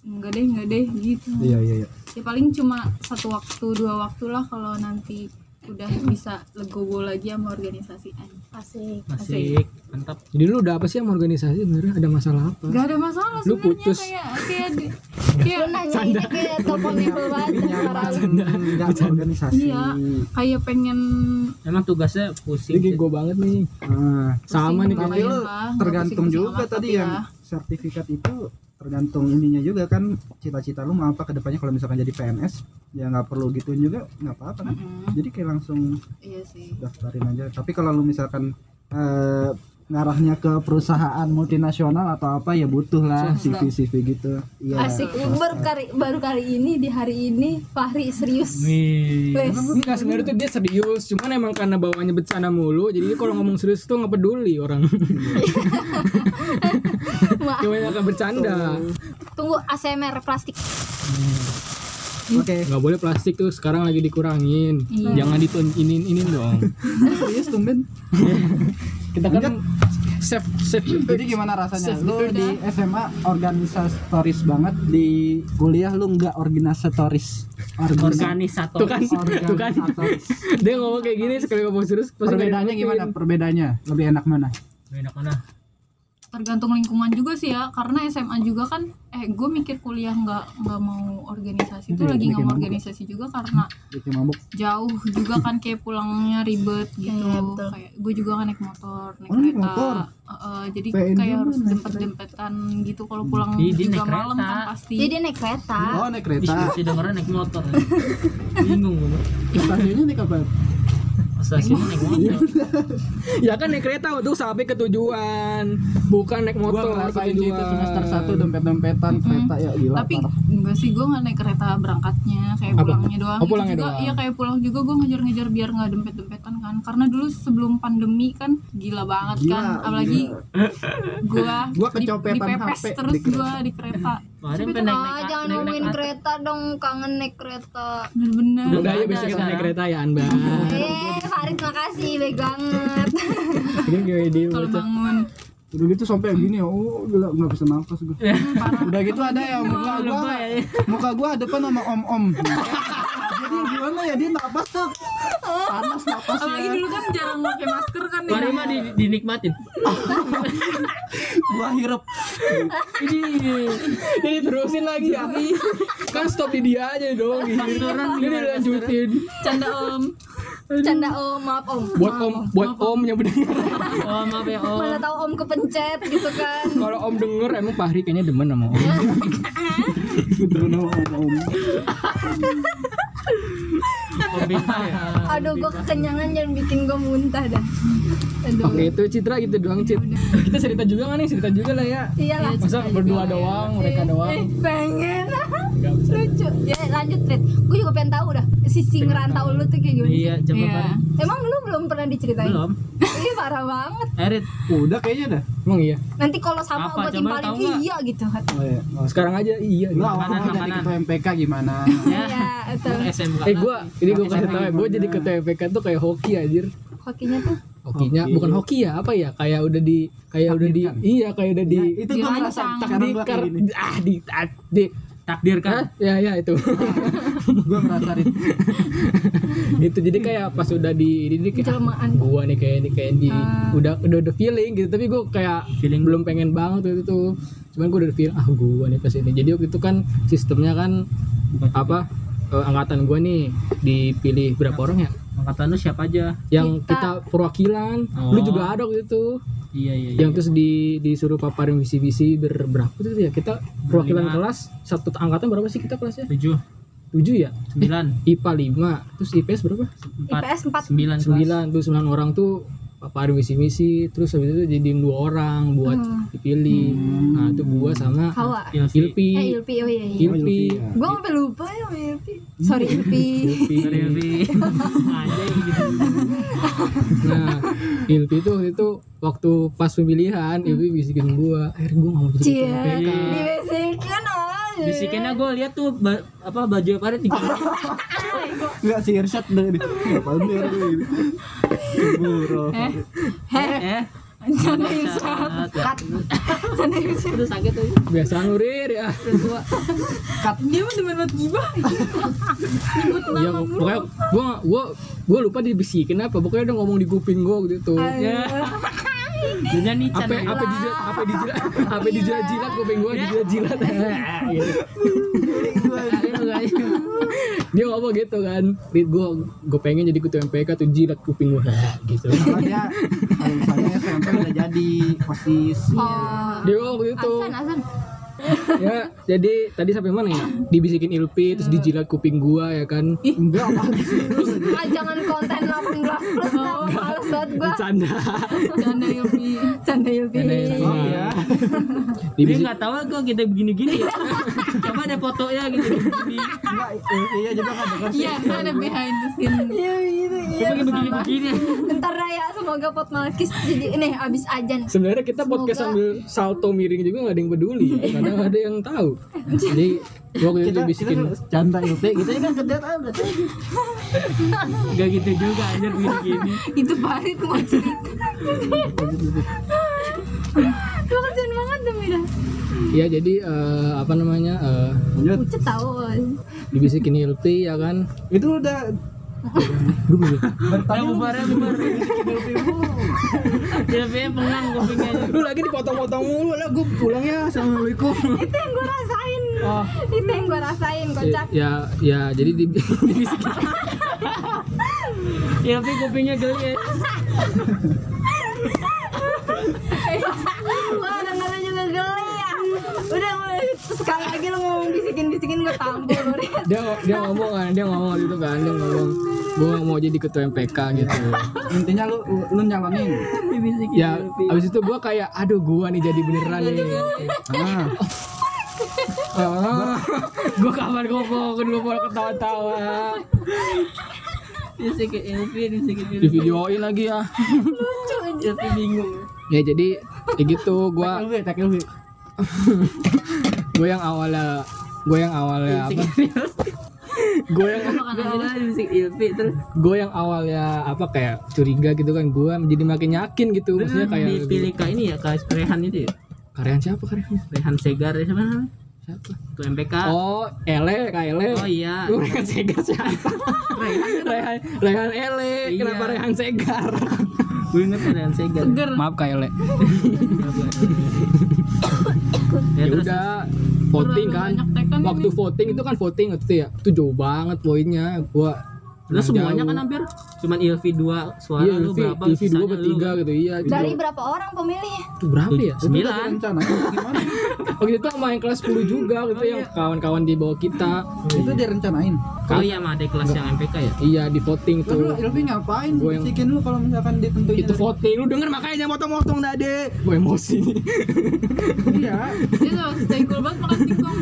enggak deh enggak deh gitu
Iya iya iya.
ya paling cuma satu waktu dua waktu lah kalau nanti udah bisa legowo lagi sama organisasi
Asik.
Asik.
Asik, mantap.
jadi lu udah apa sih sama organisasi sebenarnya ada masalah apa
Gak ada masalah
Lu
sebenarnya
putus.
kayak kayak di-
Lu
kayak
nanya ini kayak teleponnya banget parah lu.
Enggak organisasi.
Iya. kayak pengen
Emang tugasnya pusing.
ini gue banget nih
Ah,
sama nih
Pusing
kayak
tapi lu
lumayan, Pak. Nggak
tergantung
pusing-pusing
juga
amat,
tadi
tapi
yang
ya.
sertifikat itu tergantung ininya juga kan cita-cita lu mau apa ke depannya kalau misalkan jadi PNS ya nggak perlu gituin juga nggak apa-apa kan
Mm-mm.
jadi kayak langsung
iya sih
daftarin aja tapi kalau lu misalkan eh, ngarahnya ke perusahaan multinasional atau apa ya butuh lah CV CV gitu iya
Asik. Baru kali baru kali ini di hari ini Fahri serius.
Nih,
Wes.
enggak sebenarnya tuh dia serius, cuman emang karena bawaannya bercanda mulu, jadi kalau ngomong serius tuh nggak peduli orang.
Maaf.
Cuma akan bercanda.
Tunggu ASMR plastik.
oke
Nggak boleh plastik tuh sekarang lagi dikurangin.
Iya.
Jangan ditun inin inin dong.
serius tumben
Kita kan save save
jadi gimana rasanya
Sip,
lu di SMA organisatoris banget di kuliah lu nggak organisatoris Organis-
Organisator.
tuh kan tuh kan
organisatoris
dia ngomong kayak gini sekali ngomong serius pasti
perbedaannya
kayak-
gimana perbedaannya lebih enak mana
Enak mana?
tergantung lingkungan juga sih ya karena SMA juga kan eh gue mikir kuliah nggak nggak mau organisasi tuh
Iya,
lagi nggak mau
bikin mabuk.
organisasi juga karena
bikin mabuk
jauh juga kan kayak pulangnya ribet gitu
Iya, betul.
kayak gue juga kan naik motor naik
Oh, naik
kereta
motor.
Eh, eh, jadi
PNJ
kayak
mah
harus
naik Hmm.
dempet dempetan gitu kalau pulang
Iya, dia
juga
naik
malam
kereta.
kan pasti
Jadi Iya, dia naik kereta.
oh naik kereta
Diskusi dengeran naik motor. Bingung gue.
stasiunnya naik apa
Stasiun naik
Iya.
motor.
Ya kan naik kereta untuk sampai ke tujuan, bukan naik
gua
motor ke
ngerasain sih itu
tujuan.
semester satu dompet dompetan kereta ya gila
tapi
parah.
enggak sih gue nggak naik kereta berangkatnya kayak
Apa?
pulangnya doang
Oh, pulangnya
Itu juga,
doang.
iya kayak pulang juga gue ngejar-ngejar biar nggak dempet dempetan kan karena dulu sebelum pandemi kan gila banget
Gila,
kan apalagi gue
Gua kecopetan
dipepes
HP
terus
di kereta.
gue di kereta
Kemarin
Tapi
pengen naik
Ah, jangan ngomongin kereta dong, kangen naik kereta.
bener-bener
Udah ya
Ada
besok kita
sekarang.
naik kereta ya Anba.
Eh, Farid makasih baik banget.
Ini kayak dia
kalau bangun
udah gitu sampai yang gini oh gila nggak bisa nafas gua udah gitu ada yang muka gua muka gua depan sama om om jadi gimana ya dia nafas tuh panas ya. nafasnya
apalagi dulu kan jarang pakai masker kan ya
Kemarin Iya. mah di- dinikmatin.
gua hirup
Ini terusin lagi ya. Kan stop di dia aja dong.
Iya,
Ini dilanjutin.
canda om
Canda om, maaf om.
Buat om, buat om yang mendengar.
Oh maaf ya oh.
Mana tahu om kepencet gitu kan.
Kalau om denger emang Fahri kayaknya demen sama om.
Beneran sama om om
Om Bima ya.
Aduh, gue kekenyangan jangan bikin gue muntah dah. Aduh.
Oke itu Citra gitu doang Cit. Kita cerita juga nggak nih? Cerita juga lah ya.
Iyalah.
Iya,
Masa berdua doang,
kan
mereka
Eh,
doang.
pengen
Nggak bisa.
lucu. Ya lanjut, Rit. Gue juga pengen tahu dah sisi ngerantau lu tuh kayak gimana. sih.
Iya, coba
Iya.
Farid.
Emang lu belum pernah diceritain?
Belum.
Ih, parah banget.
Erit,
udah kayaknya dah
Emang iya.
Nanti kalau sama
Apa,
gue
coba
timpalin
tahu nggak?
iya gitu.
oh, iya. Oh,
Sekarang aja iya.
lu awal
Makanan,
awal jadi
makanan.
ketua MPK gimana
ya.
Iya, itu.
SMK.
Eh gue, ini gue kasih tau ya, gue
Gimana?
jadi ketua FPK tuh kayak hoki anjir
Hokinya tuh
Hokinya, bukan hoki ya, apa ya, kayak udah di, kayak udah di,
Takdirkan.
iya kayak udah di,
Ya, itu gua
Dirancang.
merasa sekarang gua
takdikar,
kayak gini
ah di, ah, di,
takdirkan.
Hah? ya ya itu,
gua merasa Rit.
itu Gitu. jadi kayak pas udah di, ini kayak ah,
jelmaan.
gua nih kayak di, kayak di,
Ah.
udah, udah udah feeling gitu, tapi gue kayak
Feeling
belum pengen banget waktu itu tuh, cuman gue udah feel ah gue nih pas ini, jadi waktu itu kan sistemnya kan
Bukan.
apa eh, angkatan gue nih dipilih berapa orang ya?
Angkatan lu siapa aja?
yang kita,
Kita.
perwakilan lu
Oh.
juga ada waktu itu
Iya iya. iya.
yang terus di disuruh paparin visi-visi ber- berapa tuh ya kita perwakilan
Berlima.
kelas satu angkatan berapa sih kita kelasnya
tujuh,
7 ya
sembilan,
IPA 5 terus IPS berapa
empat,
IPS 4.
sembilan, kelas.
9 tuh 9 orang tuh paparin misi-misi terus habis itu jadiin dua orang buat
Hmm.
dipilih
Hmm.
nah itu gua sama
Hawa.
Ilpi
Eh Ilpi, oh iya iya.
Ilpi Ilpi
ya.
Gue sampai lupa ya sama Ilpi. Sorry Ilpi.
Oh, Dari Ilpi. Anjing gitu.
nah Ilpi itu waktu itu waktu pas pemilihan Ilpi bisikin gua akhir gua nggak mau
Iya,
jadi
Hmm. Cie,
ketua PK."
dibisikin aja.
Bisikinnya gue lihat tuh ba- apa baju Farid tiga.
Enggak si Irsyad dari Apa ini ya Buru
eh
Eh,
jangan
saat. Terus sakit tuh.
biasa nurir ya
dia mah demen banget gibah nyebut
ya
nama mulu
pokoknya gua gua gua lupa dibisikin apa pokoknya udah ngomong di kuping gua gitu
Ya. Dunia nih
apa apa dijilat apa dijilat apa dijilat jilat kuping gua dijilat jilat dia ngomong gitu kan Rit gue gue pengen jadi ketua MPK tuh jilat kuping gue gitu
Soalnya kalau misalnya SMP udah jadi Osis
Oh.
dia ngomong
Iya.
gitu
Asan, Asan.
ya jadi tadi sampai mana ya dibisikin ilpi terus dijilat kuping gua ya kan
Enggak apa sih
Ah, jangan konten 18 plus dah. Males banget gua.
bercanda
Oh. canda ya, Yopi
Canda ya, Ilpi.
Canda
ya,
Ilpi.
Oh iya
Dia
Dibisik-
nggak tahu kok kita begini-gini. Coba ada fotonya gitu. Begini.
Enggak i- iya juga kan denger sih
iya ada behind the scene
Iya, gitu, iya.
Coba kayak begini-begini.
Bentar Raya, semoga pot malkis jadi ini abis ajan.
sebenarnya kita podcast
Semoga-
sambil salto miring juga nggak ada yang peduli kadang ada yang tahu jadi waktu itu
Kita
bisikin
kita canda ilpe
gitu.
Kita ini kan kedet ah, udah tahu.
Gak gitu juga anjir begini-gini.
itu Farid mau cerita
Lu kasihan banget demi dah.
ya jadi eh, apa namanya eh,
Lanjut
Pucet tau.
dibisikin ilpi ya kan
Itu udah
Udah bubar ya bubar. Ilpi pengang kupingnya.
lu lagi dipotong-potong mulu lah gue pulang ya assalamualaikum
Itu yang gua rasain.
Ah.
Itu yang gua rasain, kocak.
ya ya jadi di, dibisikin
Ilpi kupingnya geli. ya.
Wah, dengarnya juga geli ya. Udah, udah. sekali lagi lu ngomong bisikin-bisikin gua tampol lu. Rit.
dia dia ngomong kan dia ngomong gitu kan dia ngomong gue mau jadi ketua MPK gitu
Intinya lu lu lu nyalonin
ya abis itu gue kayak aduh gue nih jadi beneran nih
Ah
gue Ah. kapan gue bohongin gue mau ketawa-tawa
Bisikin Ilpi, bisikin
di
Ilpi.
videoin lagi ya
Ilpi bingung.
ya jadi kayak gitu gue
Ilpe tak ilpe
gue yang awalnya gue yang awalnya apa gue yang
Gak bisik Ilpi terus
gue yang awalnya apa kayak curiga gitu kan gue jadi makin yakin gitu maksudnya kayak
Hmm, dipilih ke ini ya ke Rehan itu ya.
karyawan siapa karyawan
Rehan Segar ya siapa namanya?
siapa
Ketua MPK.
oh ele kak ele
Ah. Oh iya. kan?
Gua Rehan Segar siapa? Rehan, Rehan Ele,
Iya.
kenapa Rehan Segar?
Gue inget Rehan Segar.
seger
Maaf Kak Ele.
ya
Ya
terus
udah voting
Terlalu
kan.
banyak tekan
Waktu
ini.
voting itu kan voting waktu itu ya. Itu jauh banget poinnya. Gua
terus semuanya kan
jauh.
hampir cuman Ilvi 2 suara
Iya,
lu
Ilvi,
berapa?
Ilvi dua
sisanya
atau
lu?
tiga gitu. Iya,
Dari
itu-
berapa orang pemilih?
itu berapa ya?
Sembilan.
Rencana gimana
Waktu itu sama yang kelas 10 juga gitu yang kawan-kawan di bawah kita.
Itu direncanain
Oh iya mah ada kelas yang MPK ya.
Iya, di voting
Lah, Lu
tuh.
ilpe ngapain
Gua yang-
Bisikin lu kalau misalkan ditentuin
Itu voting, lu denger makanya jangan motong-motong dade. Gue emosi.
Iya
dia sama stay cool banget makan singkong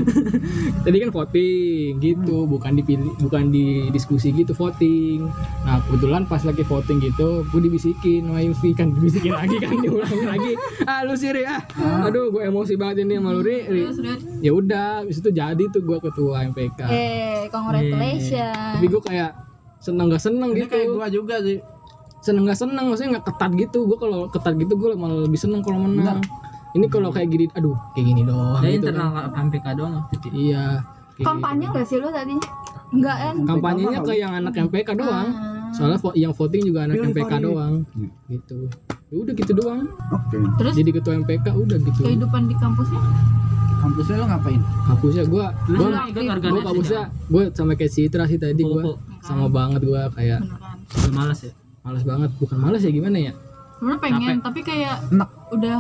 Tadi kan voting gitu,
Hmm.
bukan dipilih, bukan di diskusi gitu voting. Nah kebetulan pas lagi voting gitu, gue dibisikin sama Ilvi kan dibisikin lagi kan diulangin lagi. Ah lu sih Ri, ah, aduh gue emosi banget ini sama lu Ri. Ri.
terus lihat
Ya udah, abis itu jadi tuh gue ketua MPK.
Eh, congratulations.
Tapi gue kayak seneng gak seneng
Ini
gitu.
kayak gua juga sih
Seneng gak seneng, maksudnya nggak ketat gitu. Gue kalau ketat gitu gue malah lebih seneng kalau menang. Ini kalau kayak gini, aduh kayak gini doang.
Ada
gitu
internal
kan.
MPK doang waktu itu.
Iya. kayak
Kampanye nggak sih lu tadinya? Enggak kan?
kampanyenya ke yang anak MPK doang soalnya vo- yang voting juga anak
Pilih
MPK
Farid.
doang gitu ya udah gitu doang
Oke
terus Eh.
jadi ketua MPK udah gitu
kehidupan di kampusnya
Kampusnya lu ngapain?
kampusnya gua
Lu
gua
nggak ikut
gitu, gua
organisasi.
kampusnya gua sama kayak Citra sih tadi
Kupu.
gua sama banget gua kayak
beneran
Lu malas ya.
males banget bukan males ya gimana ya
sebenarnya pengen tapi kayak
Enak.
udah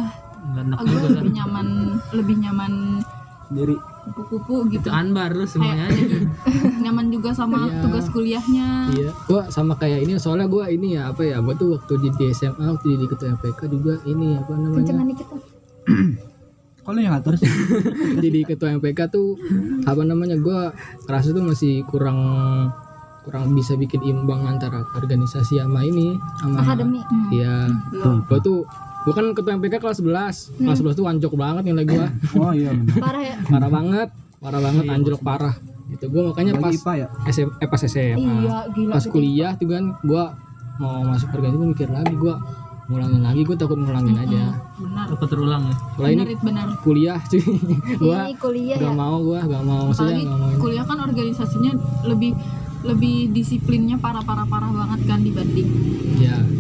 Enggak enak
agak
juga.
lebih nyaman lebih nyaman
Sendiri
kupu-kupu
Itu
gitu
Anbar lu
kayak
semuanya.
nyaman juga juga sama
Iya.
tugas kuliahnya
Iya, gua sama kayak ini soalnya gua ini ya apa ya, gua tuh waktu di SMA waktu jadi ketua MPK juga ini apa namanya?
kencengan dikit eh. tuh
Kok lu yang ngatur sih?
Jadi ketua MPK tuh apa namanya? Gua rasa tuh masih kurang kurang bisa bikin imbang antara organisasi sama ini sama
akademi
Iya. Gua tuh gua kan ketua MPK kelas
Hmm.
11. Kelas 11 tuh anjok banget nilai gua.
oh iya benar
parah ya
Parah banget, parah banget anjlok parah. Itu gua makanya pas
bagi IPA ya
SM, eh, pas SMA.
iya gila
pas
gede.
kuliah tuh kan gua mau masuk organisasi gua mikir lagi gua ngulangin lagi gua takut ngulangin aja
benar
Takut terulang ya.
kalau ini
benar Hmm. itu benar
kuliah cuy gua
ini kuliah ya
gak mau gua gak mau maksudnya
Iya, apalagi
gak mau ini.
kuliah kan organisasinya lebih lebih disiplinnya parah parah parah banget kan dibanding
ya
eh,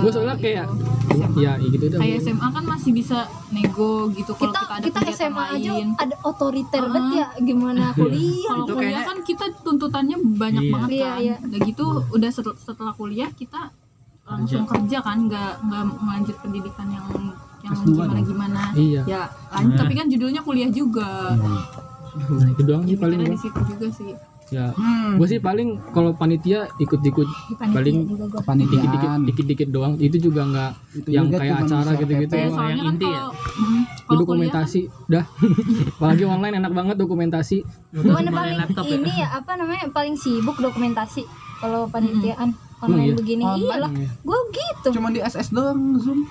Gua soalnya
itu,
kayak-
SMA.
ya gitu dah
kayak SMA kan masih bisa nego gitu kalau
kita
kita, ada Ah.
kita
kegiatan
SMA aja
lain.
ada otoriter
Heeh.
banget ya gimana
Iya.
kuliah
kalau
Itu
kuliah
kayaknya-
kan kita tuntutannya banyak
Iya.
banget kan
Iya, iya.
udah gitu udah setel- setelah kuliah kita langsung kerja, kan nggak nggak lanjut pendidikan yang yang
S2
gimana gimana
iya
ya lanjut
Nah.
tapi kan judulnya kuliah juga
nah, itu doang
ya,
sih paling
mikirnya
gua
di situ juga sih
ya
Hmm.
gua sih paling kalau panitia ikut-ikut paling dikit-dikit
kepanitiaan
dikit-dikit doang itu juga nggak yang kayak acara gitu-gitu
Kayak
Yang
soalnya kan
inti ya?
kalau mm,
Lu
kalau kuliah kan
dokumentasi dah apalagi online enak banget dokumentasi
gimana
Cuma
paling
laptop ya.
ini ya apa namanya paling sibuk dokumentasi kalau panitiaan
Hmm.
online
iya.
begini
Online
iyalah
ya.
gue gitu
cuman di SS doang zoom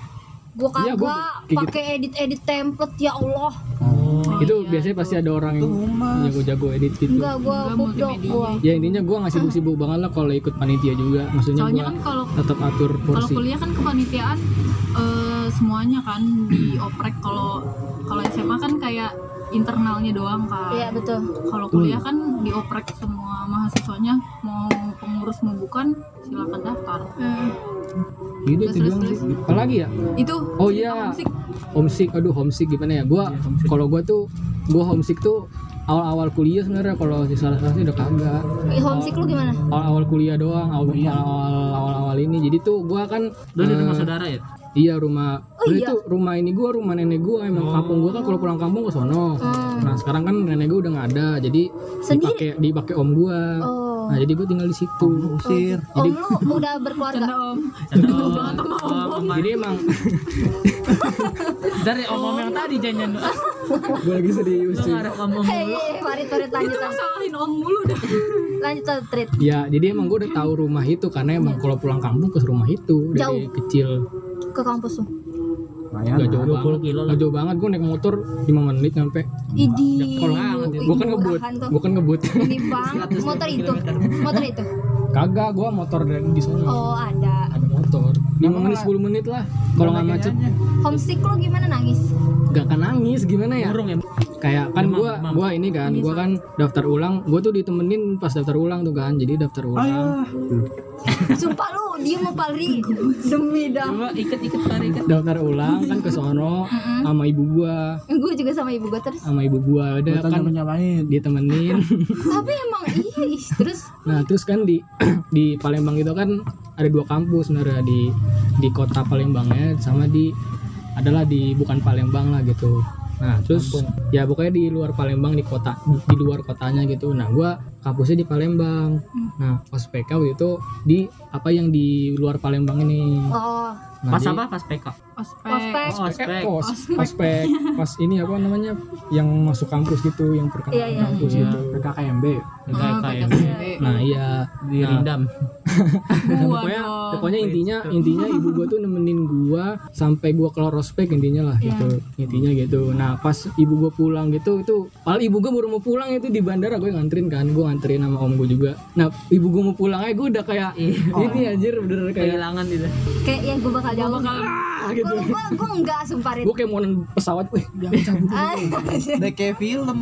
gue
Iya, gua
kagak
kayak gitu.
pakai edit edit template ya Allah
Oh,
itu
iya,
biasanya pasti ada orang
itu
yang
humas
jago-jago edit gitu
enggak gue
Enggak,
bodoh
multimedia.
gue
ya intinya gue nggak sibuk-sibuk banget lah kalau ikut panitia juga maksudnya
soalnya
gue
kan kalau
tetap atur
kalau
porsi
kuliah kan kepanitiaan eh, semuanya kan dioprek kalau kalau SMA kan kayak internalnya doang kan
iya betul
kalau kuliah kan dioprek semua mahasiswanya mau pengurus mau bukan silakan daftar
Hmm.
gitu
Terus,
itu doang
terus,
sih apalagi ya
itu
Oh,
cerita
iya.
homesick.
homesick aduh homesick gimana ya gue
Iya, homesick.
kalau gue tuh gue homesick tuh awal-awal kuliah sebenarnya kalau di salah satu udah kagak
Eh, homesick lu gimana
awal-awal kuliah doang awal-
Kuliah.
awal-awal awal-awal ini jadi tuh gue kan
Dulu Oh, iya. di
eh,
rumah saudara ya?
iya rumah
Oh,
dulu
iya.
itu rumah ini gue rumah nenek gue emang
Oh.
kampung gue kan kalau pulang kampung ke sono
Hmm.
nah sekarang kan nenek gue udah nggak ada jadi dipakai
Sendiri?
dipakai om gue
oh gitu.
nah jadi gue tinggal di situ
usir
Om lu udah berkeluarga?
Canda, om
Canda
Deket
om.
banget sama
Om,
om.
om.
jadi emang
Dari om-om ya, yang tadi janjian lu.
gue lagi serius
Lu
cuy.
ngarep om-om
Hei,
dulu.
hei, Farid, Farid
itu
lanjut lanjut
masalahin om mulu dah
lanjut lanjut, Farid.
ya jadi emang gue udah tahu rumah itu karena emang kalau pulang kampung ke rumah itu dari kecil
ke kampus tuh.
nggak jauh
20
banget
kilo lah.
nggak jauh banget gue naik motor 5 menit nyampe
Idi.
kalau nggak gue kan ngebut gue kan ngebut
Ini bang, motor itu, motor itu.
kagak gue motor dari di sana
Oh ada.
ada motor 5
Kenapa
menit
nggak-
10 menit lah kalau nggak macet
Homesick lu gimana nangis?
nggak akan nangis gimana ya
Burung ya?
kayak kan
Demam,
gue
demam.
gua ini kan gue kan daftar ulang gue tuh ditemenin pas daftar ulang tuh kan jadi daftar ulang
ayah
Sumpah lu diem mau Palri. Demi dah.
Coba ikat-ikat pare ikat.
daftar ulang kan ke sono sama ibu gua
Gue juga sama ibu gue terus.
sama ibu gua udah
Bukan
kan
nyamain
ditemenin
Tapi emang iya, ih, terus
nah terus kan di di Palembang itu kan ada dua kampus sebenarnya di di kota Palembangnya sama di adalah di bukan Palembang lah gitu nah terus ya pokoknya di luar Palembang di kota di, di luar kotanya gitu nah gua kampusnya di Palembang nah pas PK waktu itu di apa yang di luar Palembang ini
oh
nah,
Pas
di-
apa? Pas PK.
ospek
ospek.
Oh,
Eh,
spek.
pos, ospek, pas ini apa namanya yang masuk kampus gitu, yang perkenalan
Iya, iya.
kampus
Iya.
gitu.
PKKMB
Kayak
Ah,
kayak
PKKMB.
Nah iya,
dirindam.
Nah,
Gua
pokoknya,
dong.
pokoknya intinya intinya ibu gua tuh nemenin gua sampai gua keluar ospek intinya lah
Iya.
gitu, intinya gitu. Nah pas ibu gua pulang gitu itu, paling ibu gua baru mau pulang itu di bandara gue nganterin kan, gua nganterin sama om gua juga. Nah ibu gua mau pulang aja gua udah kayak ini anjir bener kayak
Kehilangan itu.
Kayak ya gue bakal jauh.
ah gitu.
Gue gue gue enggak sumpah Rid.
Gue kayak mau nonton pesawat, weh jangan cabut.
Ah,
Udah kayak film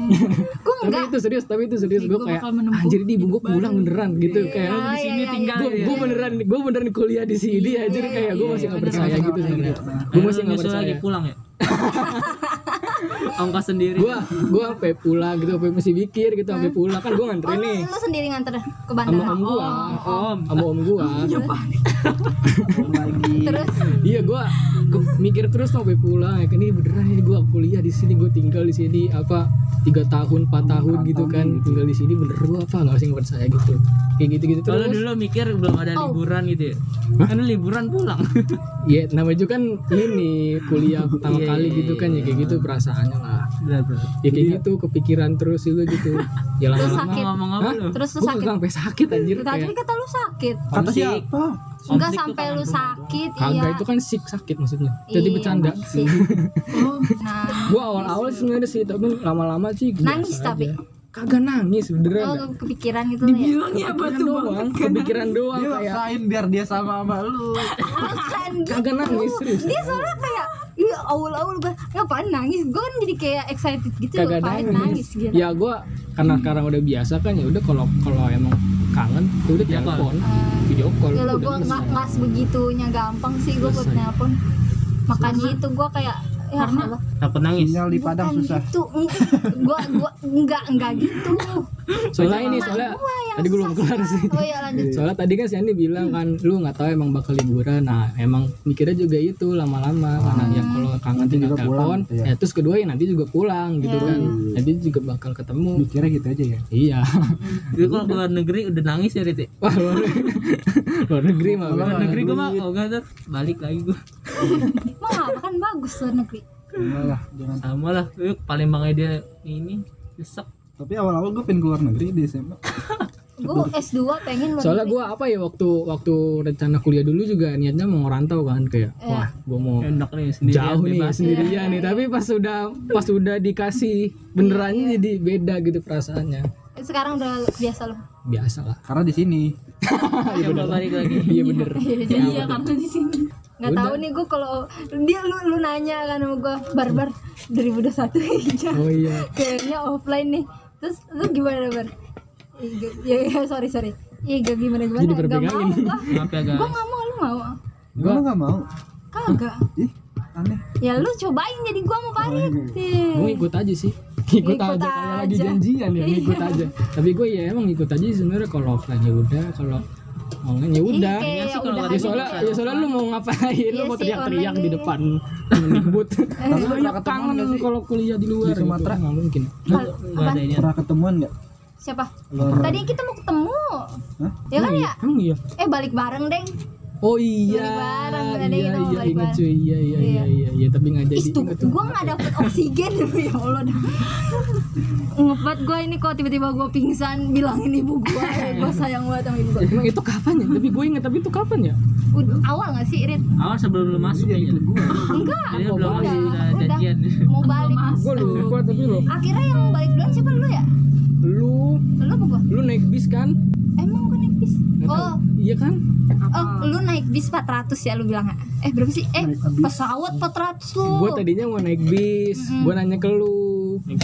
Gue
tapi
enggak.
itu serius, tapi itu serius gue
Gua
kayak
bakal menempuh
anjir ini ibu gue
hidup baru."
pulang beneran gitu
Iya.
kayak
Ah,
Di sini
iya, iya,
tinggal.
gue
ya.
gue beneran gue beneran kuliah di sini anjir
iya,
kayak gue
iya,
masih nggak
iya,
percaya
bener.
gitu sebenarnya
Iya.
gue masih nggak
Lu Hmm, nyusul
percaya
Nah, lagi pulang ya? Ongkos sendiri.
gue gue sampai pulang gitu sampai masih mikir gitu sampai pulang kan gue
Oh,
nganterin
lu,
nih
lu sendiri nganter ke
sama
bandara.
om
Oh,
gue
Om.
sama om gue
lagi
iya gue Gua mikir terus sampai pulang ya kan ini beneran ya gue kuliah di sini gue tinggal di sini apa tiga tahun empat tahun gitu kan tinggal di sini bener gue apa nggak sih nggak percaya gitu kayak gitu gitu
Kalau
terus
dulu mikir belum ada
Oh.
liburan gitu ya.
Hah?
Kan liburan pulang.
ya namanya juga kan ini kuliah pertama
Iya,
kali
iya,
gitu kan ya kayak gitu perasaannya lah
Benar, benar.
ya kayak gitu kepikiran terus itu gitu ya
Terus
lama-lama
sakit.
Ngomong apa
Hah?
lu?
Terus lu
gue
sakit.
kagak sampai sakit anjir
Tadi
kayak
kata lu sakit.
Kata
Homesick.
siapa?
Enggak
Konflik tuh
sampai
kangen
lu
rumah
sakit, iya.
kagak itu kan sick sakit maksudnya jadi
Iya,
bercanda
sih. Nah,
gue awal-awal sebenarnya sih tapi lama-lama sih biasa
Nangis tapi?
kagak nangis beneran
oh,
dah.
lu kepikiran gitu lu ya.
Dibilangnya apa
Kepikiran
tuh?
doang kepikiran doang
Dia
Iya,
kayak
maksain biar dia sama sama lu.
Bukan
kagak nangis serius
gitu. Dia soalnya kayak iya awal-awal gue ngapain nangis? Gue kan jadi kayak excited gitu loh,
kagak
ngapain
nangis.
nangis gitu. Hmm.
ya gue karena sekarang udah biasa kan ya udah kalau kalau emang kangen ya udah
Iya,
telepon video call
Ya lo
udah
gue nggak
selesai.
nggak sebegitunya gampang sih gue buat
Selesai.
nelpon. Makanya itu gue kayak ya
Karena
Allah,
Takut nangis.
Iya.
Sinyal di Padang
bukan
susah.
Gitu. Gue gue nggak nggak gitu.
soalnya ini
Mak
soalnya
gua yang
tadi gue belum
susah.
kelar sih
Oh ya lanjut.
soalnya tadi kan si Andi bilang kan lu nggak tahu emang bakal liburan nah emang mikirnya juga itu lama-lama karena ya kalau kangen
Nanti
tinggal
juga pulang,
telepon
iya.
ya terus kedua ya nanti juga pulang gitu
Iya.
kan nanti juga bakal ketemu
Mikirnya gitu aja ya.
iya
Gue kalau keluar negeri udah nangis ya Riti.
wah luar, luar negeri mah
Keluar
bener.
negeri gue mah kalau enggak tuh balik lagi gue.
Mau apa kan bagus luar negeri.
Enggak lah, jangan.
Sama lah. Gue paling bangga dia ini nyesek.
Tapi awal-awal gue pengen keluar negeri di SMA.
Gue S2 pengen luar
soalnya
negeri.
gue apa ya waktu waktu rencana kuliah dulu juga niatnya mau ngerantau kan kayak
Iya.
wah gue mau
Enak nih sendiri
Oh. jauh nih
bebas.
sendirian nih tapi pas sudah pas sudah dikasih benerannya jadi beda gitu perasaannya
Sekarang udah biasa loh.
biasa lah
Karena di sini.
Coba balik lagi.
iya bener
Iya, karena di sini.
Nggak tahu nih gue kalau dia lu lu nanya kan sama gue barbar 2021 hijau.
oh iya
gitu." kayaknya offline nih terus lu gimana ber ya, ya sorry sorry iya gak gimana gimana
Jadi
gak mau
berpegangin.
gua
Maaf ya
gua
guys.
nggak mau lu mau
Gue nggak mau.
kagak
Ih, aneh.
ya lu cobain jadi gua mau parit
gue
Ih.
ngikut aja sih ngikut aja
Ngikut
kayak lagi
aja. Iya.
janjian ya ngikut aja tapi gue ya emang ngikut aja sih sebenarnya kalau offline ya udah kalau online ya
Ih,
udah
Iya, kayak
sih kalau
ya
udah
nggak
soalnya
bisa.
ya soalnya lu mau ngapain lu
Iya
mau
sih,
teriak-teriak
online
di
deh.
depan menyebut
Tapi lu pernah
banyak
ketemuan
kangen
nggak sih?
kalau kuliah di luar
Di Sumatera?
gitu. nggak mungkin
Hal-
Enggak
apa
ada ini.
Pernah ketemuan nggak?
siapa
Luar
tadi kita mau ketemu
Hah?
ya kan
Emang
ya
emang iya
eh balik bareng deng
Oh iya.
Balik bareng,
iya,
ada yang
iya,
mau balik
ingat
bareng.
cuy. Iya, iya, iya,
Iya.
iya, iya, tapi nggak jadi.
Ih, tuh,
ingat tuh.
gue nggak dapet oksigen ya Allah dah. Ngepet gue ini kok tiba-tiba gue pingsan bilangin ibu gue, gue sayang banget sama ibu gue.
Emang itu kapan ya? Tapi gue inget tapi itu kapan ya?
Udah, awal nggak sih Rit?
Awal sebelum lu masuk
Iya,
aja.
gitu gue.
Enggak,
Jadi lu belum
udah,
udah
udah.
janjian.
mau balik.
Gue lupa tapi lo.
Akhirnya yang balik duluan siapa lu ya?
Lu
Lu apa gue?
lu naik bis kan?
Emang gue naik bis?
Nggak tahu.
Oh,
Iya kan?
oh, lu naik bis 400 ya lu bilang Eh berapa sih? Eh
Naik bis.
pesawat 400 lu.
Gue tadinya mau naik bis.
Oh. Mm-mm.
Gue nanya ke lu.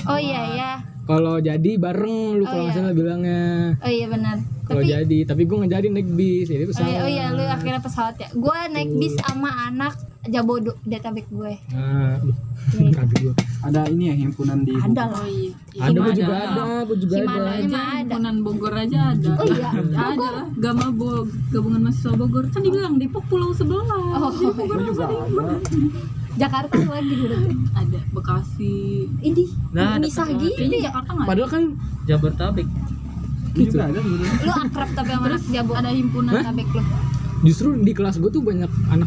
Oh iya iya,
Kalau jadi bareng lu
Oh,
kalau nggak
iya.
salah bilangnya.
oh iya benar.
Kalau
Tapi
jadi, tapi gue nggak jadi naik bis. Jadi
Oh iya,
pesawat.
oh iya, lu akhirnya pesawat ya. Gue naik bis sama anak Jabodetabek gue.
Nah, aduh,
Iya.
kaget gue.
Ada ini ya himpunan di.
Ada lah.
Oh iya.
Ada gue
Gimana?
juga ada, gue juga ada.
Gimana?
aja
Emang ada?
himpunan Bogor aja ada
Oh iya.
ada lah Gama Bog gabungan mahasiswa Bogor kan dibilang Depok pulau sebelah
Oh,
Gue
iya.
juga ada.
Jakarta lagi dulu.
ada Bekasi
Ini
Nah,
misah
deket banget.
gitu
kayaknya
ya.
Jakarta nggak ada
Padahal kan
Jabodetabek.
Gue juga ada. menurut
Lu akrab tapi sama anak
terus
Jabo.
ada himpunan
Hah?
Tabek lu.
justru di kelas gue tuh banyak anak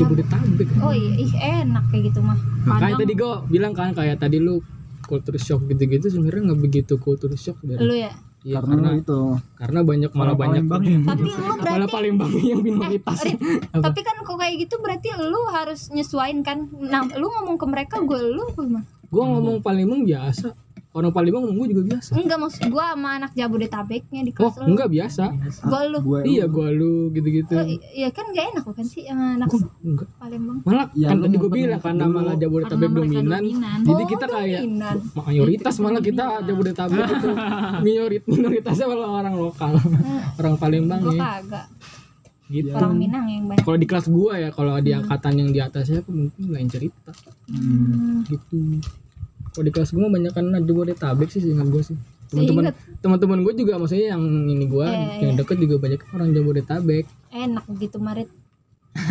Jabodetabek.
Oh iya, ih enak kayak gitu mah.
Makanya
Padang.
tadi gue bilang kan kayak tadi lu culture shock gitu-gitu sebenarnya nggak begitu culture shock dari
Lu ya.
Iya,
karena,
karena
itu
karena banyak malah
Orang
banyak
Palembang yang-
Tapi lu
malah
berarti Eh,
paling banyak yang minoritas.
Rit,
Apa?
tapi kan kok kayak gitu berarti lu harus nyesuain kan. Nah, lu ngomong ke mereka gue lu apa gimana?
Gue ngomong Palembang biasa, orang Palembang ngomong gue juga biasa.
Enggak maksud gue sama anak Jabodetabeknya di
Oh
kelas lu.
enggak biasa,
Gue lu.
gue
iya gue lu gitu-gitu.
Lu- Iya kan gak enak bukan sih sama anak
Gua enggak.
Palembang.
Malah
Ya,
kan
lu
tadi gue
nonton
bilang
dulu.
karena malah Jabodetabek
Karena mereka
dominan,
dominan.
jadi
Oh,
kita kayak
dominan.
mayoritas malah kita Jabodetabek itu minorit minoritasnya malah orang lokal, orang Palembang
Gue
ya.
kagak.
Gitu.
Orang Minang yang banyak.
kalau di kelas gua ya kalau di angkatan yang di atasnya aku mungkin lain cerita gitu kalau di kelas gua banyak kan Jabodetabek sih seingat gua sih teman-teman
Seingat.
teman-teman gua juga maksudnya yang ini gua
Eh,
yang deket juga banyak orang Jabodetabek
Enak gitu Marit.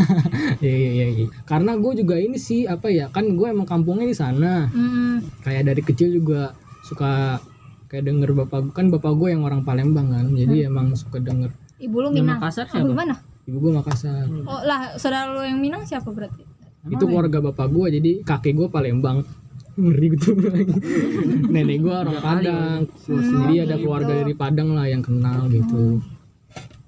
Iya iya iya. iya. Karena gue juga ini sih apa ya kan gue emang kampungnya di sana.
Hmm.
Kayak dari kecil juga suka kayak denger bapak kan bapak gue yang orang Palembang kan. Jadi emang suka denger
Ibu lu
Nama
Minang.
kasar
Ibu
siapa?
mana?
ibu gue Makassar.
Oh lah, saudara lu yang Minang siapa berarti?
ya?
Itu keluarga bapak gue jadi kakek gue Palembang. Ngeri gitu. Nenek gue orang
ya.
Padang. Jadi
gitu.
ada keluarga dari Padang lah yang kenal gitu.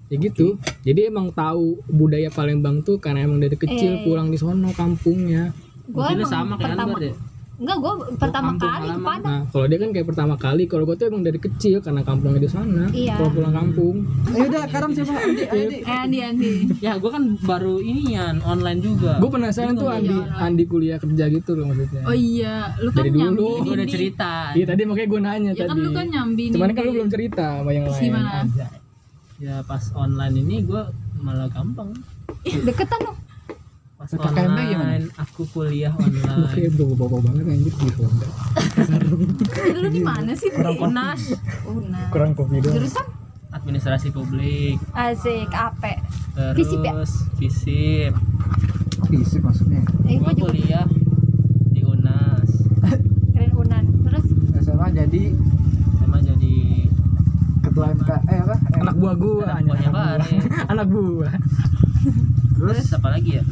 Ya gitu. Jadi emang tahu budaya Palembang tuh karena emang dari kecil
Eh.
pulang di sono kampungnya.
Gua
Mungkin
emang
sama kayak
pertama.
Anwar ya.
Enggak, gua pertama
kampung
kali ke
halaman.
Padang.
Nah, kalau dia kan kayak pertama kali, kalau gue tuh emang dari kecil karena kampungnya di sana.
Iya.
Kalau pulang kampung,
Ayo udah, sekarang siapa? Andi, ayo Andi.
Eh, Andi, Andi.
Ya, gua kan baru ini Yan, online juga.
gue penasaran tuh
Iya,
Andi,
orang.
Andi kuliah kerja gitu loh maksudnya.
Oh iya, lu kan
Dari dulu.
nyambi
Gua udah
di-
cerita.
Iya tadi makanya gue nanya
Ya kan
tadi.
lu kan nyambi
Cuman
nih
kan lu
di-
belum cerita sama yang
Terus
lain.
gimana?
Ya pas online ini gua malah gampang.
Eh, Deketan dong.
Pas
PPKM -nya gimana?
online, aku kuliah
Oke,
online.
bro, bawa banget anjir di Honda.
Lu di mana sih? Di-
Orang Komnas,
Una.
Kurang kopi doang.
Jurusan
administrasi publik,
Asik, ape.
terus
Fisip ya?
fisip.
Fisik maksudnya.
Eh,
Gua
gua juga
kuliah di Unas.
keren Unan. Terus
SMA jadi
Sama jadi
ketua MK eh apa? Eh,
Anak buah gue,
anak buahnya bareng.
anak buah.
Terus apa lagi ya?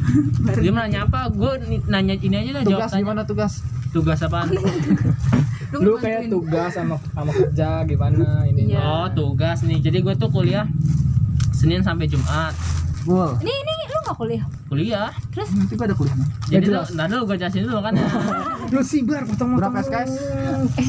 Dia mau nanya apa? Gue nanya ini aja lah
tugas
jawabannya.
gimana tugas?
Tugas apaan?
Lu
kan
kayak tugas sama sama kerja gimana ini?
Iya.
Oh, tugas nih. Jadi gue tuh kuliah Senin sampai Jumat.
Full.
ini ini lu gak kuliah.
Kuliah.
Nanti gua ada kuliah.
Jadi
Ya,
tuh, ntar dulu gue jelasin dulu kan ya.
Lu sibar potong
Berapa SKS?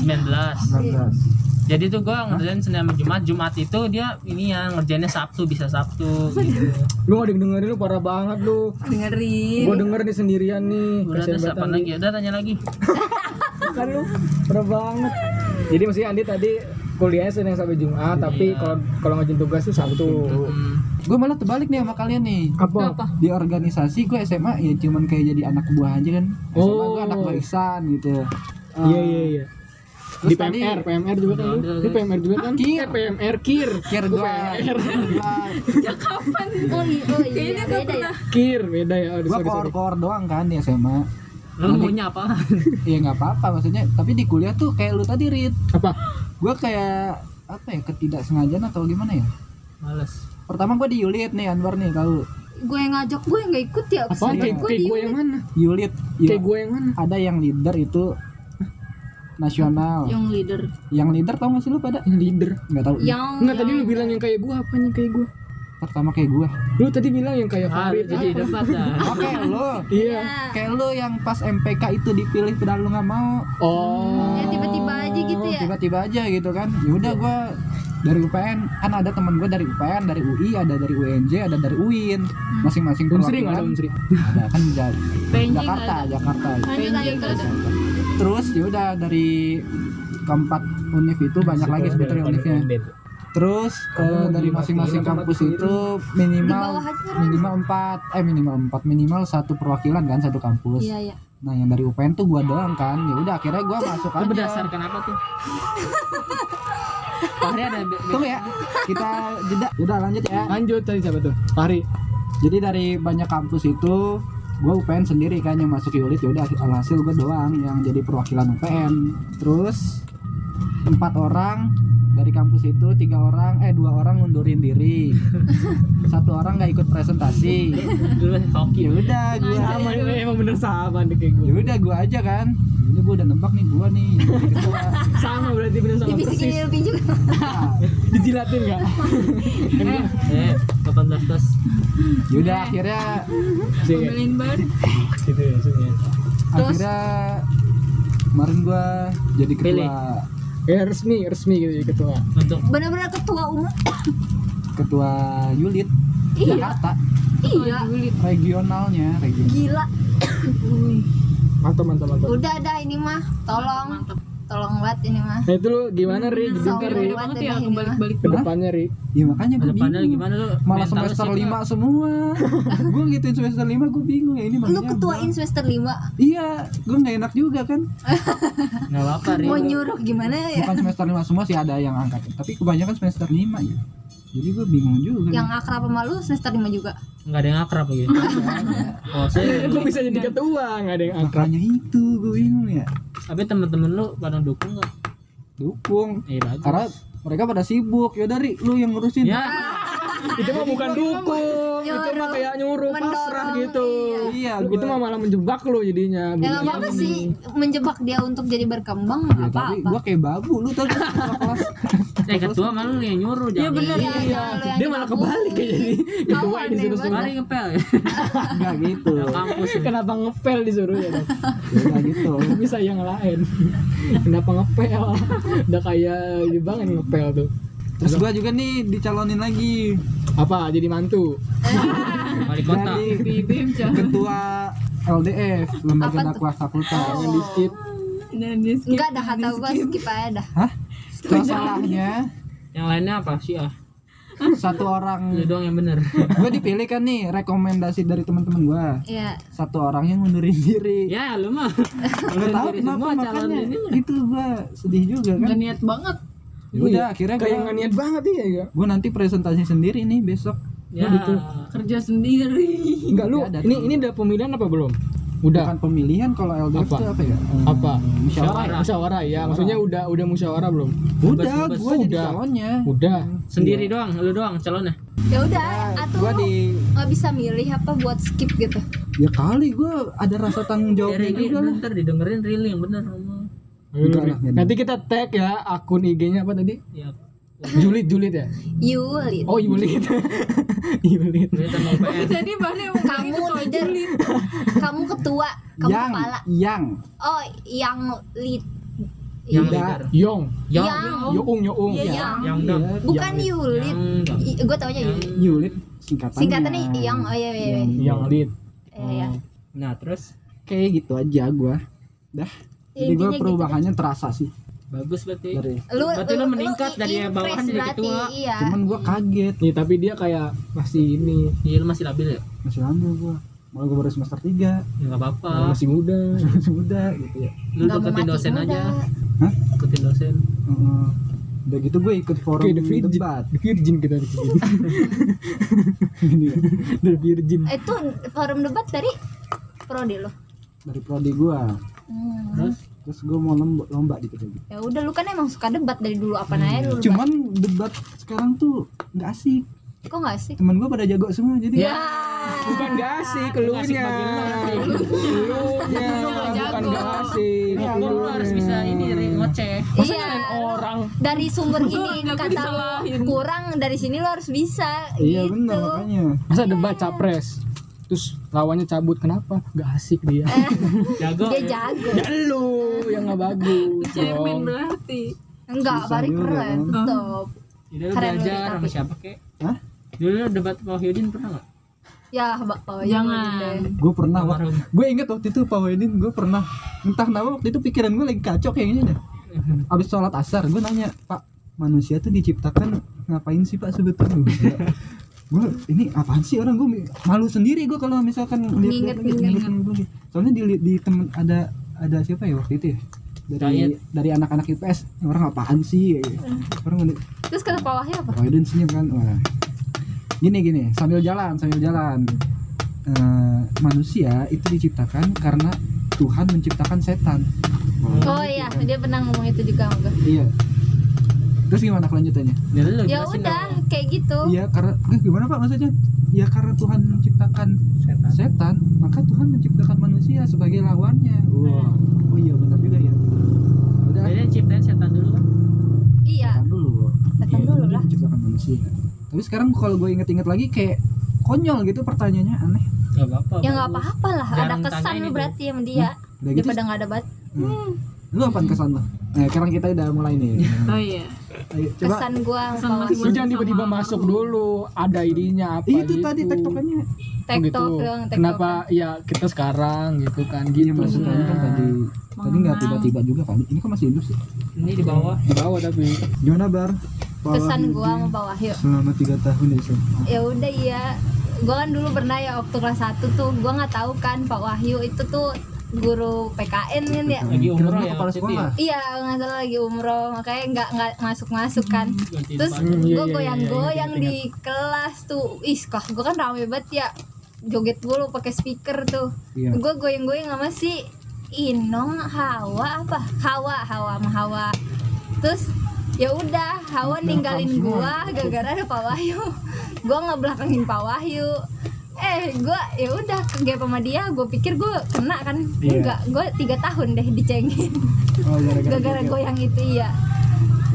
19.
19.
Jadi tuh gue ngerjain Senin sampai Jumat. Jumat itu dia ini ya ngerjainnya Sabtu bisa Sabtu gitu.
Lu gak dengerin lu parah banget lu.
dengerin.
Gua denger nih sendirian nih.
Udah
kasihan
terus
banget
apa
Andi.
lagi? Udah tanya lagi.
Kan lu parah banget. Jadi maksudnya Andi tadi kuliahnya Senin sampai Jumat, tapi
Iya.
kalau kalau ngajin tugas tuh Sabtu.
Hmm.
Gue malah terbalik nih sama kalian nih.
Apa?
Di organisasi gue SMA ya cuman kayak jadi anak buah aja kan. SMA
Oh.
gue anak buah Ihsan gitu.
Iya iya iya.
Terus
Di
tadi-
PMR, PMR juga kan lu.
Udah, udah,
Lu PMR juga kan?
Kir.
Eh, PMR kir.
Kir
Gua
gua.
PMR.
Ya kapan?
Oh, iya, oh
Kayaknya
iya,
gua
beda ya.
Kir beda ya. Oh,
Gue
sorry, sorry.
koor-koor doang kan di SMA.
Lu punya apa?
Ya nggak apa-apa maksudnya. Tapi di kuliah tuh kayak lu tadi Rit.
Apa?
Gue kayak apa ya ketidaksengajaan atau gimana ya?
Males.
Pertama gue di Yulit nih Anwar nih kalau
Gue yang ngajak, gue yang gak ikut ya.
Apa? Kayak
Gue
kayak
di
gue yang mana?
Yulit. Yu-
Kayak gue yang mana?
ada yang leader itu nasional.
Yang leader.
Yang leader tau gak sih lu pada?
Yang leader.
Nggak tahu.
yang
Enggak tadi lu bilang yang kayak gue apanya kayak gue?
Pertama kayak gue.
Lu tadi bilang yang kayak
Ah, lu
Farid.
jadi debat dah.
Oke lo.
Ya,
Iya.
Kayak lo yang pas MPK itu dipilih padahal lu nggak mau
Oh.
Ya, tiba-tiba aja gitu ya.
Oh, tiba-tiba aja gitu kan ya udah
Iya.
gue dari UPN kan ada teman gue dari UPN dari UI ada dari UNJ ada dari UIN
Hmm.
masing-masing
Unsri nggak ada
perwakilan
Unsri?
ada kan Ja-
Penji
Jakarta
nggak ada.
Jakarta ya.
Lanjut, lanjut,
gitu.
lanjut.
terus ya udah dari keempat univ itu banyak lagi ya, sebetulnya univnya terus eh, dari masing-masing kampus itu
Di
minimal
bawah aja. Ron.
minimal empat eh minimal empat minimal satu perwakilan kan satu kampus
Iya, iya.
Nah yang dari UPN tuh gua doang kan Ya udah akhirnya gua masuk
Lu
aja
berdasarkan apa tuh? Fahri ada be- be-
Tunggu ya Kita jeda Udah lanjut ya
Lanjut tadi siapa tuh? Fahri.
Jadi dari banyak kampus itu Gua UPN sendiri kan yang masuk Yulit ya udah alhasil gua doang yang jadi perwakilan UPN Terus Empat orang dari kampus itu tiga orang eh dua orang ngundurin diri satu orang nggak ikut presentasi
Lu
ya
hoki.
udah gua
Sama emang bener sama nih kayak
ya
gue.
udah gua aja kan Ya udah gua udah nebak nih gua nih yang jadi ketua.
Sama berarti bener sama
Dibisikin
persis.
lebih gitu juga.
Dijilatin enggak?
Eh, kapan tas?
Ya udah akhirnya
Pemilihan baru.
Iya, Gitu ya maksudnya.
Terus?
akhirnya kemarin gua jadi ketua
Pilih.
Ya resmi, resmi gitu jadi ketua.
Untuk
Bener-bener ketua umum.
ketua Yulit
Iya.
Jakarta
Iya.
regionalnya regional
Gila.
Mantap, mantap, mantap.
Udah ada ini mah. Tolong.
Mantap.
Tolong banget ini mah.
Nah itu lu gimana Ri? Jujur
Sombong
Ri.
banget
Banget
ini
ya
mah.
kebalik-balik.
Kedepannya Ri.
ya makanya gue
depannya
bingung
gimana lu?
malah
Mental
semester
sih lu?
5 semua gue ngituin semester 5 gue bingung ya ini
Lu
maksudnya
ketuain semester 5
iya gue nggak enak juga kan
Nggak apa-apa, Ri. Iya.
Mau nyuruh gimana ya?
bukan semester 5 semua sih ada yang angkat tapi kebanyakan semester 5 ya jadi gue bingung juga
Yang akrab sama lu semester 5 juga.
nggak ada yang akrab gitu oh saya
Kok bisa
Iya.
jadi ketua nggak ada yang akrab
makanya itu gue bingung ya
tapi temen-temen lu pada dukung nggak
dukung
iya bagus
karena mereka pada sibuk ya dari lu yang ngurusin
ya
itu
Iya,
mah bukan dukung itu mah
Nyuruh.
kayak nyuruh pasrah
Iya, Mendorong,
gitu
iya
itu mah malah menjebak lo jadinya
Ya
Bukan-
Iya,
nggak apa-apa sih menjebak dia untuk jadi berkembang
Ya,
nggak
tapi
apa-apa.
gue kayak babu lu tadi ketua kelas
eh ketua malu yang nyuruh jangan
Iya, jangan lu yang
dia malah
dibangku.
kebalik ya jadi
Kamu
ketua
aneh
disuruh suruh
mari ngepel ya
nggak gitu
Ke kampus ya.
kenapa ngepel disuruh ya dong
nggak gitu
bisa yang lain kenapa ngepel udah kayak ini banget ngepel tuh
terus gue juga nih dicalonin lagi
apa jadi mantu
wali
Iya.
kota
jadi
di BEM jangan
ketua LDF lembaga
Apa tuh? Oh.
dakwah fakultas
jangan di skip
dan di skip
Enggak dah kata gua skip aja dah.
hah masalahnya
yang lainnya apa sih ah
satu
lu
orang
doang yang bener
gue dipilih kan nih rekomendasi dari teman-teman gue
Iya.
satu orang yang ngundurin diri
ya lu mah
nggak tahu
Ngundurin
kenapa
semua calon
makanya ya.
ini
itu gue sedih juga kan
Nggak niat banget
Iya,
Ya udah akhirnya
Iya. kayak nggak
gue
niat banget ya ya
gue nanti presentasi sendiri nih besok
ya
gitu.
kerja sendiri
Enggak lu
Ada
ini ini udah pemilihan apa belum udah
bukan pemilihan kalau
Apa?
LDF itu apa ya Eh,
apa
musyawarah
Musyawarah.
musyawarah ya maksudnya udah udah musyawarah belum
udah
Bebas-bebas.
gue jadi
Udah.
calonnya
udah
sendiri doang lu doang calonnya
Ya udah
Iya,
atau
gue
lu
di
nggak bisa milih apa buat skip gitu.
ya kali gue ada rasa tanggung
ya
jawabnya
Rili
juga lah
ntar didengerin Rili yang bener ngomong.
Ayo,
Enggak
Ri.
lah, enggak.
nanti kita tag ya akun IG-nya apa tadi
ya
Julit Julit ya
Yuli.
oh Julit
Iya.
Julit
Rili sama UPN
jadi bahannya emang kayak
Kamu
gitu kalau
leader.
julid
Kamu ketua, kamu
yang
kepala.
yang
Oh, yang lead.
yang
Iya.
leader
Yong
yang
Yang.
Young Young
Iya, yang.
yang dong
Bukan Yulit.
yang dong.
Gue taunya
Iya.
Yang-
Yulit
Yulit.
singkatannya
Singkatannya yang oh iya iya. iya.
Yang Lit
Iya, iya.
nah terus
kayak gitu aja gue dah jadi
Ya,
gue
intinya gitu.
perubahannya terasa sih
bagus berarti
dari
Oh. Berarti lu meningkat dari
impress
bawahan jadi
berarti,
ketua.
Iya.
cuman gue kaget
Nih tapi dia kayak masih ini
Iya, lu masih labil ya?
masih lama gue malah gue baru semester 3
Ya nggak apa-apa.
masih muda
masih muda gitu ya
Lu
Nggak mau
deketin
mati
dosen
muda.
aja.
Hah?
Deketin dosen.
Heeh. udah gitu gue ikut forum
Kayak the virgin
debat
the virgin kita di sini the virgin
Eh, Itu forum debat dari prodi lo.
dari prodi gue
Hmm.
Terus?
terus gue mau lomba, lomba dikit lagi
Ya udah lu kan emang suka debat dari dulu apa aja lu. debat.
cuman debat sekarang tuh nggak asik
kok nggak sih?
temen gue pada jago semua jadi
Ya.
bukan gak
Iya,
asik lunya lunya bukan
jago.
gak asik
Lu, lu harus bisa ini Ri, ngecek.
iya.
orang
Dari sumber ini
Nggak
kata lu
disalahin.
kurang dari sini lu harus bisa
iya
gitu.
bener makanya
masa debat capres terus lawannya cabut kenapa gak asik dia
Jago.
Dia
ya.
jago.
dan lu yang gak bagus dong.
cemen berarti
Enggak,
Susah
Bari
juga,
keren.
kan?
Top.
Jadi lu
Keren lu,
belajar
tapi.
sama siapa kek?
Hah?
Dulu lu debat Pak Yudin pernah nggak?
Ya, Mbak Pao. ya.
jangan
gue pernah wak-
Almarhum.
gue inget waktu itu Pak Wedin gue pernah entah kenapa waktu itu pikiran gue lagi kacau kayaknya deh abis sholat asar gue nanya Pak manusia tuh diciptakan ngapain sih Pak sebetulnya gue ini apaan sih orang gue malu sendiri gue kalau misalkan lihat-lihat lagi,
Nginget-nginget.
nginget-nginget lagi. soalnya di, di temen ada ada siapa ya waktu itu ya
Kayaknya.
dari dari anak-anak IPS orang apaan sih orang udah-
Terus kata Pak Wahyu apa?
Pak Wedin senyum kan wah gini gini sambil jalan sambil jalan Eh, manusia itu diciptakan karena Tuhan menciptakan setan Wah,
Oh iya, dia pernah ngomong itu juga sama gua.
iya terus gimana kelanjutannya
Ya lu
Ya
jelasin dong.
udah, kayak gitu.
iya karena eh, gimana pak maksudnya ya karena Tuhan menciptakan
Setan.
setan maka Tuhan menciptakan manusia sebagai lawannya wah oh iya benar juga ya Iya. udah
Jadi ciptain setan dulu kan.
Iya.
setan dulu
Setan
Iya,
dulu
dia
lah.
menciptakan manusia tapi sekarang kalau gue inget-inget lagi kayak konyol gitu pertanyaannya aneh
Gak apa-apa.
Ya nggak
bagus.
apa-apa lah, ada
Jangan
kesan
tanyain
lu
itu.
berarti sama dia
udah gitu
daripada nggak ada bat.
Hmm. lu apaan kesan lo? Nah, sekarang kita udah mulai nih.
oh iya
Ayo, coba.
Kesan gua
Kesan
sama
masih-
lu jangan tiba-tiba masuk dulu ada idenya apa
Ih, Iya, itu
gitu.
tadi tektokannya.
TikTok
gitu.
dong, TikTok.
Kenapa ya kita sekarang gitu kan
Iya
gitu.
maksudnya kan tadi tadi nggak
Mengenang.
tiba-tiba juga kali. Ini kan masih hidup sih.
Ini di bawah.
Di bawah tapi
Gimana bar? Pak
Kesan
Wahyudi
gua sama Pak Wahyu.
selama tiga tahun di SMA.
ya udah iya gue kan dulu pernah ya waktu kelas 1 tuh gue nggak tahu kan Pak Wahyu itu tuh guru PKN kan ya
lagi
Kira-kira
umroh ya
kepala
waktu itu
sekolah.
ya.
iya nggak salah lagi umroh makanya nggak nggak masuk masuk kan
Ganti
terus
tempat.
Hmm, iya,
gue
iya,
goyang-goyang
iya, iya,
di kelas tuh ih kah gue kan rame banget ya joget dulu pakai speaker tuh
Iya.
gue goyang-goyang sama si Inong Hawa apa Hawa Hawa sama Hawa terus ya udah Hawa ninggalin gua gara-gara ada Pak Wahyu gua ngebelakangin Pak Wahyu eh gua ya udah kegep sama dia gua pikir gua kena kan
Iya.
enggak gua tiga tahun deh dicengin
Oh, gara-gara
gara-gara ya.
joget.
goyang itu iya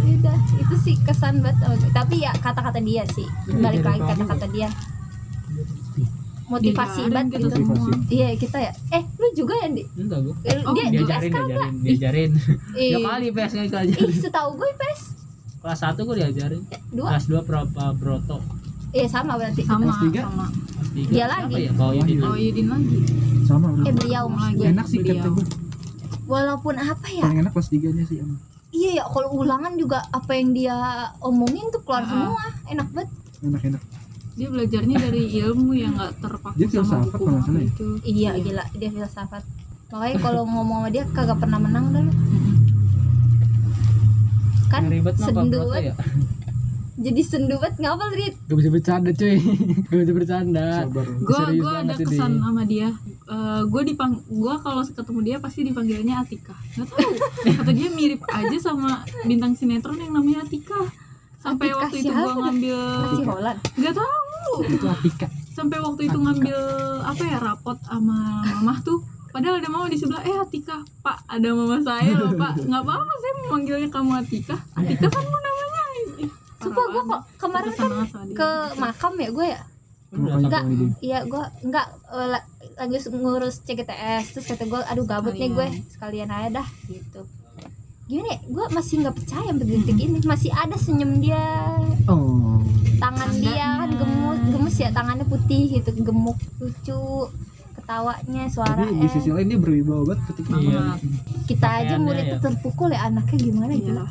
Ya udah itu sih kesan banget sama gue. tapi ya kata-kata dia sih balik lagi kata-kata
ya?
dia
Iya.
motivasi
Diajarin
banget
gitu
gitu
semua.
iya kita ya eh lu juga ya di
Enggak gua.
eh,
Oh,
dia di
Diajarin,
SK nggak Eh.
diajarin, diajarin.
ih
Ya kali PS itu
ih
ajarin.
setahu gue pes
Kelas 1 gua diajarin.
dua
Kelas 2 berapa Broto.
eh sama berarti
sama
tiga?
sama
Kelas 3.
Dia lagi.
Ya? Kalau ini
oh Yudin lagi
sama orang
eh beliau Iya. maksud
Iya.
gue
enak sih
Beliau.
kata gue
walaupun apa ya
paling enak kelas tiganya sih emang
iya ya kalau ulangan juga apa yang dia omongin tuh keluar
Ah.
semua enak banget
enak enak
dia belajarnya dari ilmu yang nggak terpaku
Dia
sama
filsafat
buku
kalau nggak salah ya?
itu
iya gila dia filsafat makanya kalau ngomong sama dia kagak pernah menang dah lu. kan
ribet mah Pak
sendu
Broto
banget
ya.
jadi sendu banget ngapal Rit
Gak bisa bercanda cuy Gak bisa bercanda
sabar
gue
Serius
gue ada
banget sih, Di.
kesan sama dia gue dipang gue kalau ketemu dia pasti dipanggilnya Atika nggak tahu kata dia mirip aja sama bintang sinetron yang namanya Atika sampai
Atika
waktu itu gue
siapa?
ngambil
Oh.
masih Holland
nggak tahu
itu Atika
sampai waktu itu ngambil apa ya rapot sama mamah tuh padahal ada mama di sebelah eh Atika pak ada mama saya loh pak nggak apa-apa saya memanggilnya kamu Atika Atika kan mau namanya Ih, parah
sumpah gue
banget.
kok kemarin
Kesan
kan
banget sama dia.
ke makam ya gue ya
makanya
Enggak.
kalau ini
iya gue enggak eh, la- lagi ngurus CGTS terus kata gue aduh gabut nih gue sekalian aja dah gitu gimana ya gue masih nggak percaya sampai detik ini masih ada senyum dia
oh
tangan dia kan gemuk gemes ya tangannya putih gitu gemuk lucu ketawanya suara
tapi di sisi lain dia berwibawa banget ketika
Iya.
Banget.
kita aja
pakaiannya
murid
ya.
terpukul ya anaknya gimana
Iya.
gitu
Iyalah,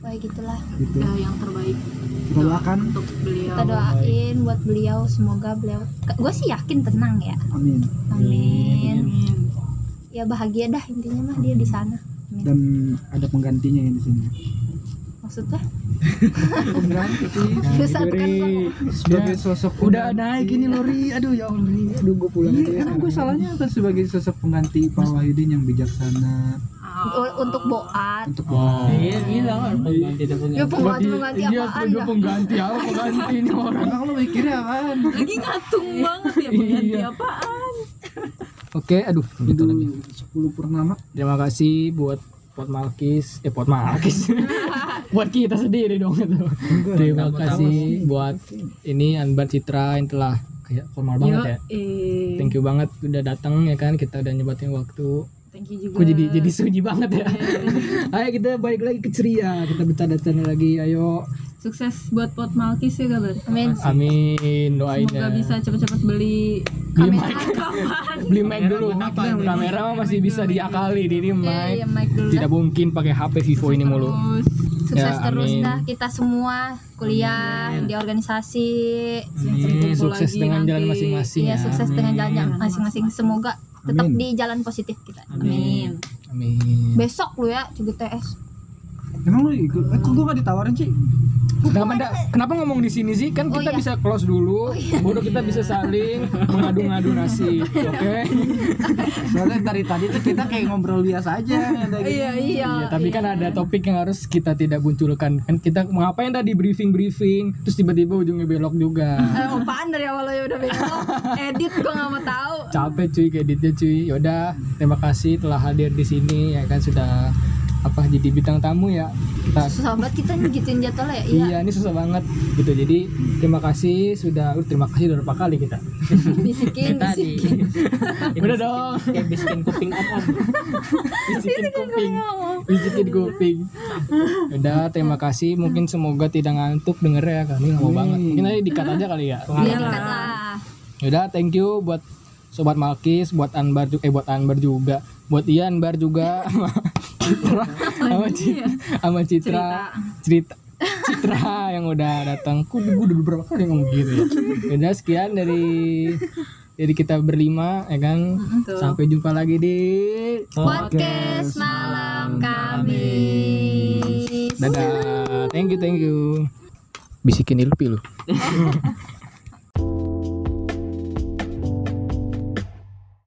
Wah gitulah
gitu
Iya.
ya yang terbaik gitu,
kita doakan
untuk beliau
kita doain buat beliau semoga beliau gue sih yakin tenang ya
amin iya,
amin
Amin.
ya bahagia dah intinya mah dia di sana
dan ada penggantinya yang di sini
maksudnya kan
pengganti
Iya, Nah, gitu,
disatukan sama-
sebagai sosok
Udah naik ini Lori Aduh ya Allah Lori Aduh gue pulang
Iya,
aja ya.
emang gue salahnya apa sebagai sosok pengganti Pak Wahyudin yang bijaksana
U- untuk boat
untuk
Oh.
Iya, bilang kan pengganti itu
ya
pengganti.
pengganti pengganti
Iya
apaan
gue
dah
pengganti Apa pengganti ini orang
Emang lu mikirnya apaan?
lagi ngatung banget ya pengganti
Iya.
apaan
Oke aduh
Itu
bentar lagi
10 purnama
Terima kasih buat Pot Malkis, eh Pot Malkis. buat kita sendiri dong itu. Terima kasih buat ini Anbar Citra yang telah kayak formal banget ya.
eh
Thank you banget udah datang ya kan kita udah nyebatin waktu.
thank you juga
Aku jadi jadi sunyi banget ya. Ayo kita balik lagi ke ceria, kita bercanda-canda lagi. Ayo.
sukses buat pot malkis ya kabar
amin
Iya, Amin doain ya.
semoga bisa cepet-cepet beli
Beli mic,
kamar
beli mic
Kamera
dulu.
buat apa?
Kamera mah masih bisa diakali ini
ya,
mic.
ya mic dulu dah.
Tidak mungkin pakai HP Vivo Oh, ini mulu.
Terus,
sukses
Ya,
terus
amin.
dah kita semua kuliah
Amin.
di organisasi
Amin, sukses
lagi
dengan jalan
nanti.
masing-masing
Iya
ya.
sukses dengan jalan
Amin.
masing-masing semoga tetap
Amin.
di jalan positif kita
Amin.
Amin.
besok lu ya CGTS
Emang lu ikut? Eh, kok gue gak ditawarin sih?
Kenapa, ndak- kenapa ngomong di sini sih? Kan
Oh,
kita
iya.
bisa close dulu, baru kita bisa saling mengadu-ngadu nasib, oke?
Soalnya dari tadi tuh kita kayak ngobrol biasa aja kayak gitu.
iya iya
Iya, tapi kan ada topik yang harus kita tidak munculkan. Kan kita ngapain tadi briefing-briefing, terus tiba-tiba ujungnya belok juga.
Eh, apaan dari awal lo udah besok edit gua nggak mau tahu
Capek cuy editnya cuy. Yaudah, terima kasih telah hadir di sini ya kan sudah apa jadi bintang tamu ya. Kita
susah banget kita nih gituin jadwalnya ya iya
Iya, ini susah banget gitu. Jadi terima kasih sudah, uh, terima kasih udah berapa kali kita.
bisikin
Kayak tadi.
bisikin
Kayak
Udah
bisikin-
dong.
Kayak bisikin kuping om om.
Pijitin kuping. Pijitin kuping. Udah, terima kasih. Mungkin semoga tidak ngantuk denger ya kami lama banget. Mungkin nanti dikat aja kali ya.
iya
Iya.
dikat lah
Udah, thank you buat sobat Malkis, buat Anbar juga, eh buat Anbar juga, buat Ian Anbar juga, sama Citra, sama Ci- sama Citra, cerita Citra yang udah datang. Kok gue udah beberapa kali ngomong gitu ya. Udah sekian dari Jadi kita berlima ya kan.
Tuh.
Sampai jumpa lagi di
Podcast malam kami.
dadah. Thank you, thank you. Bisikin ilpi lu.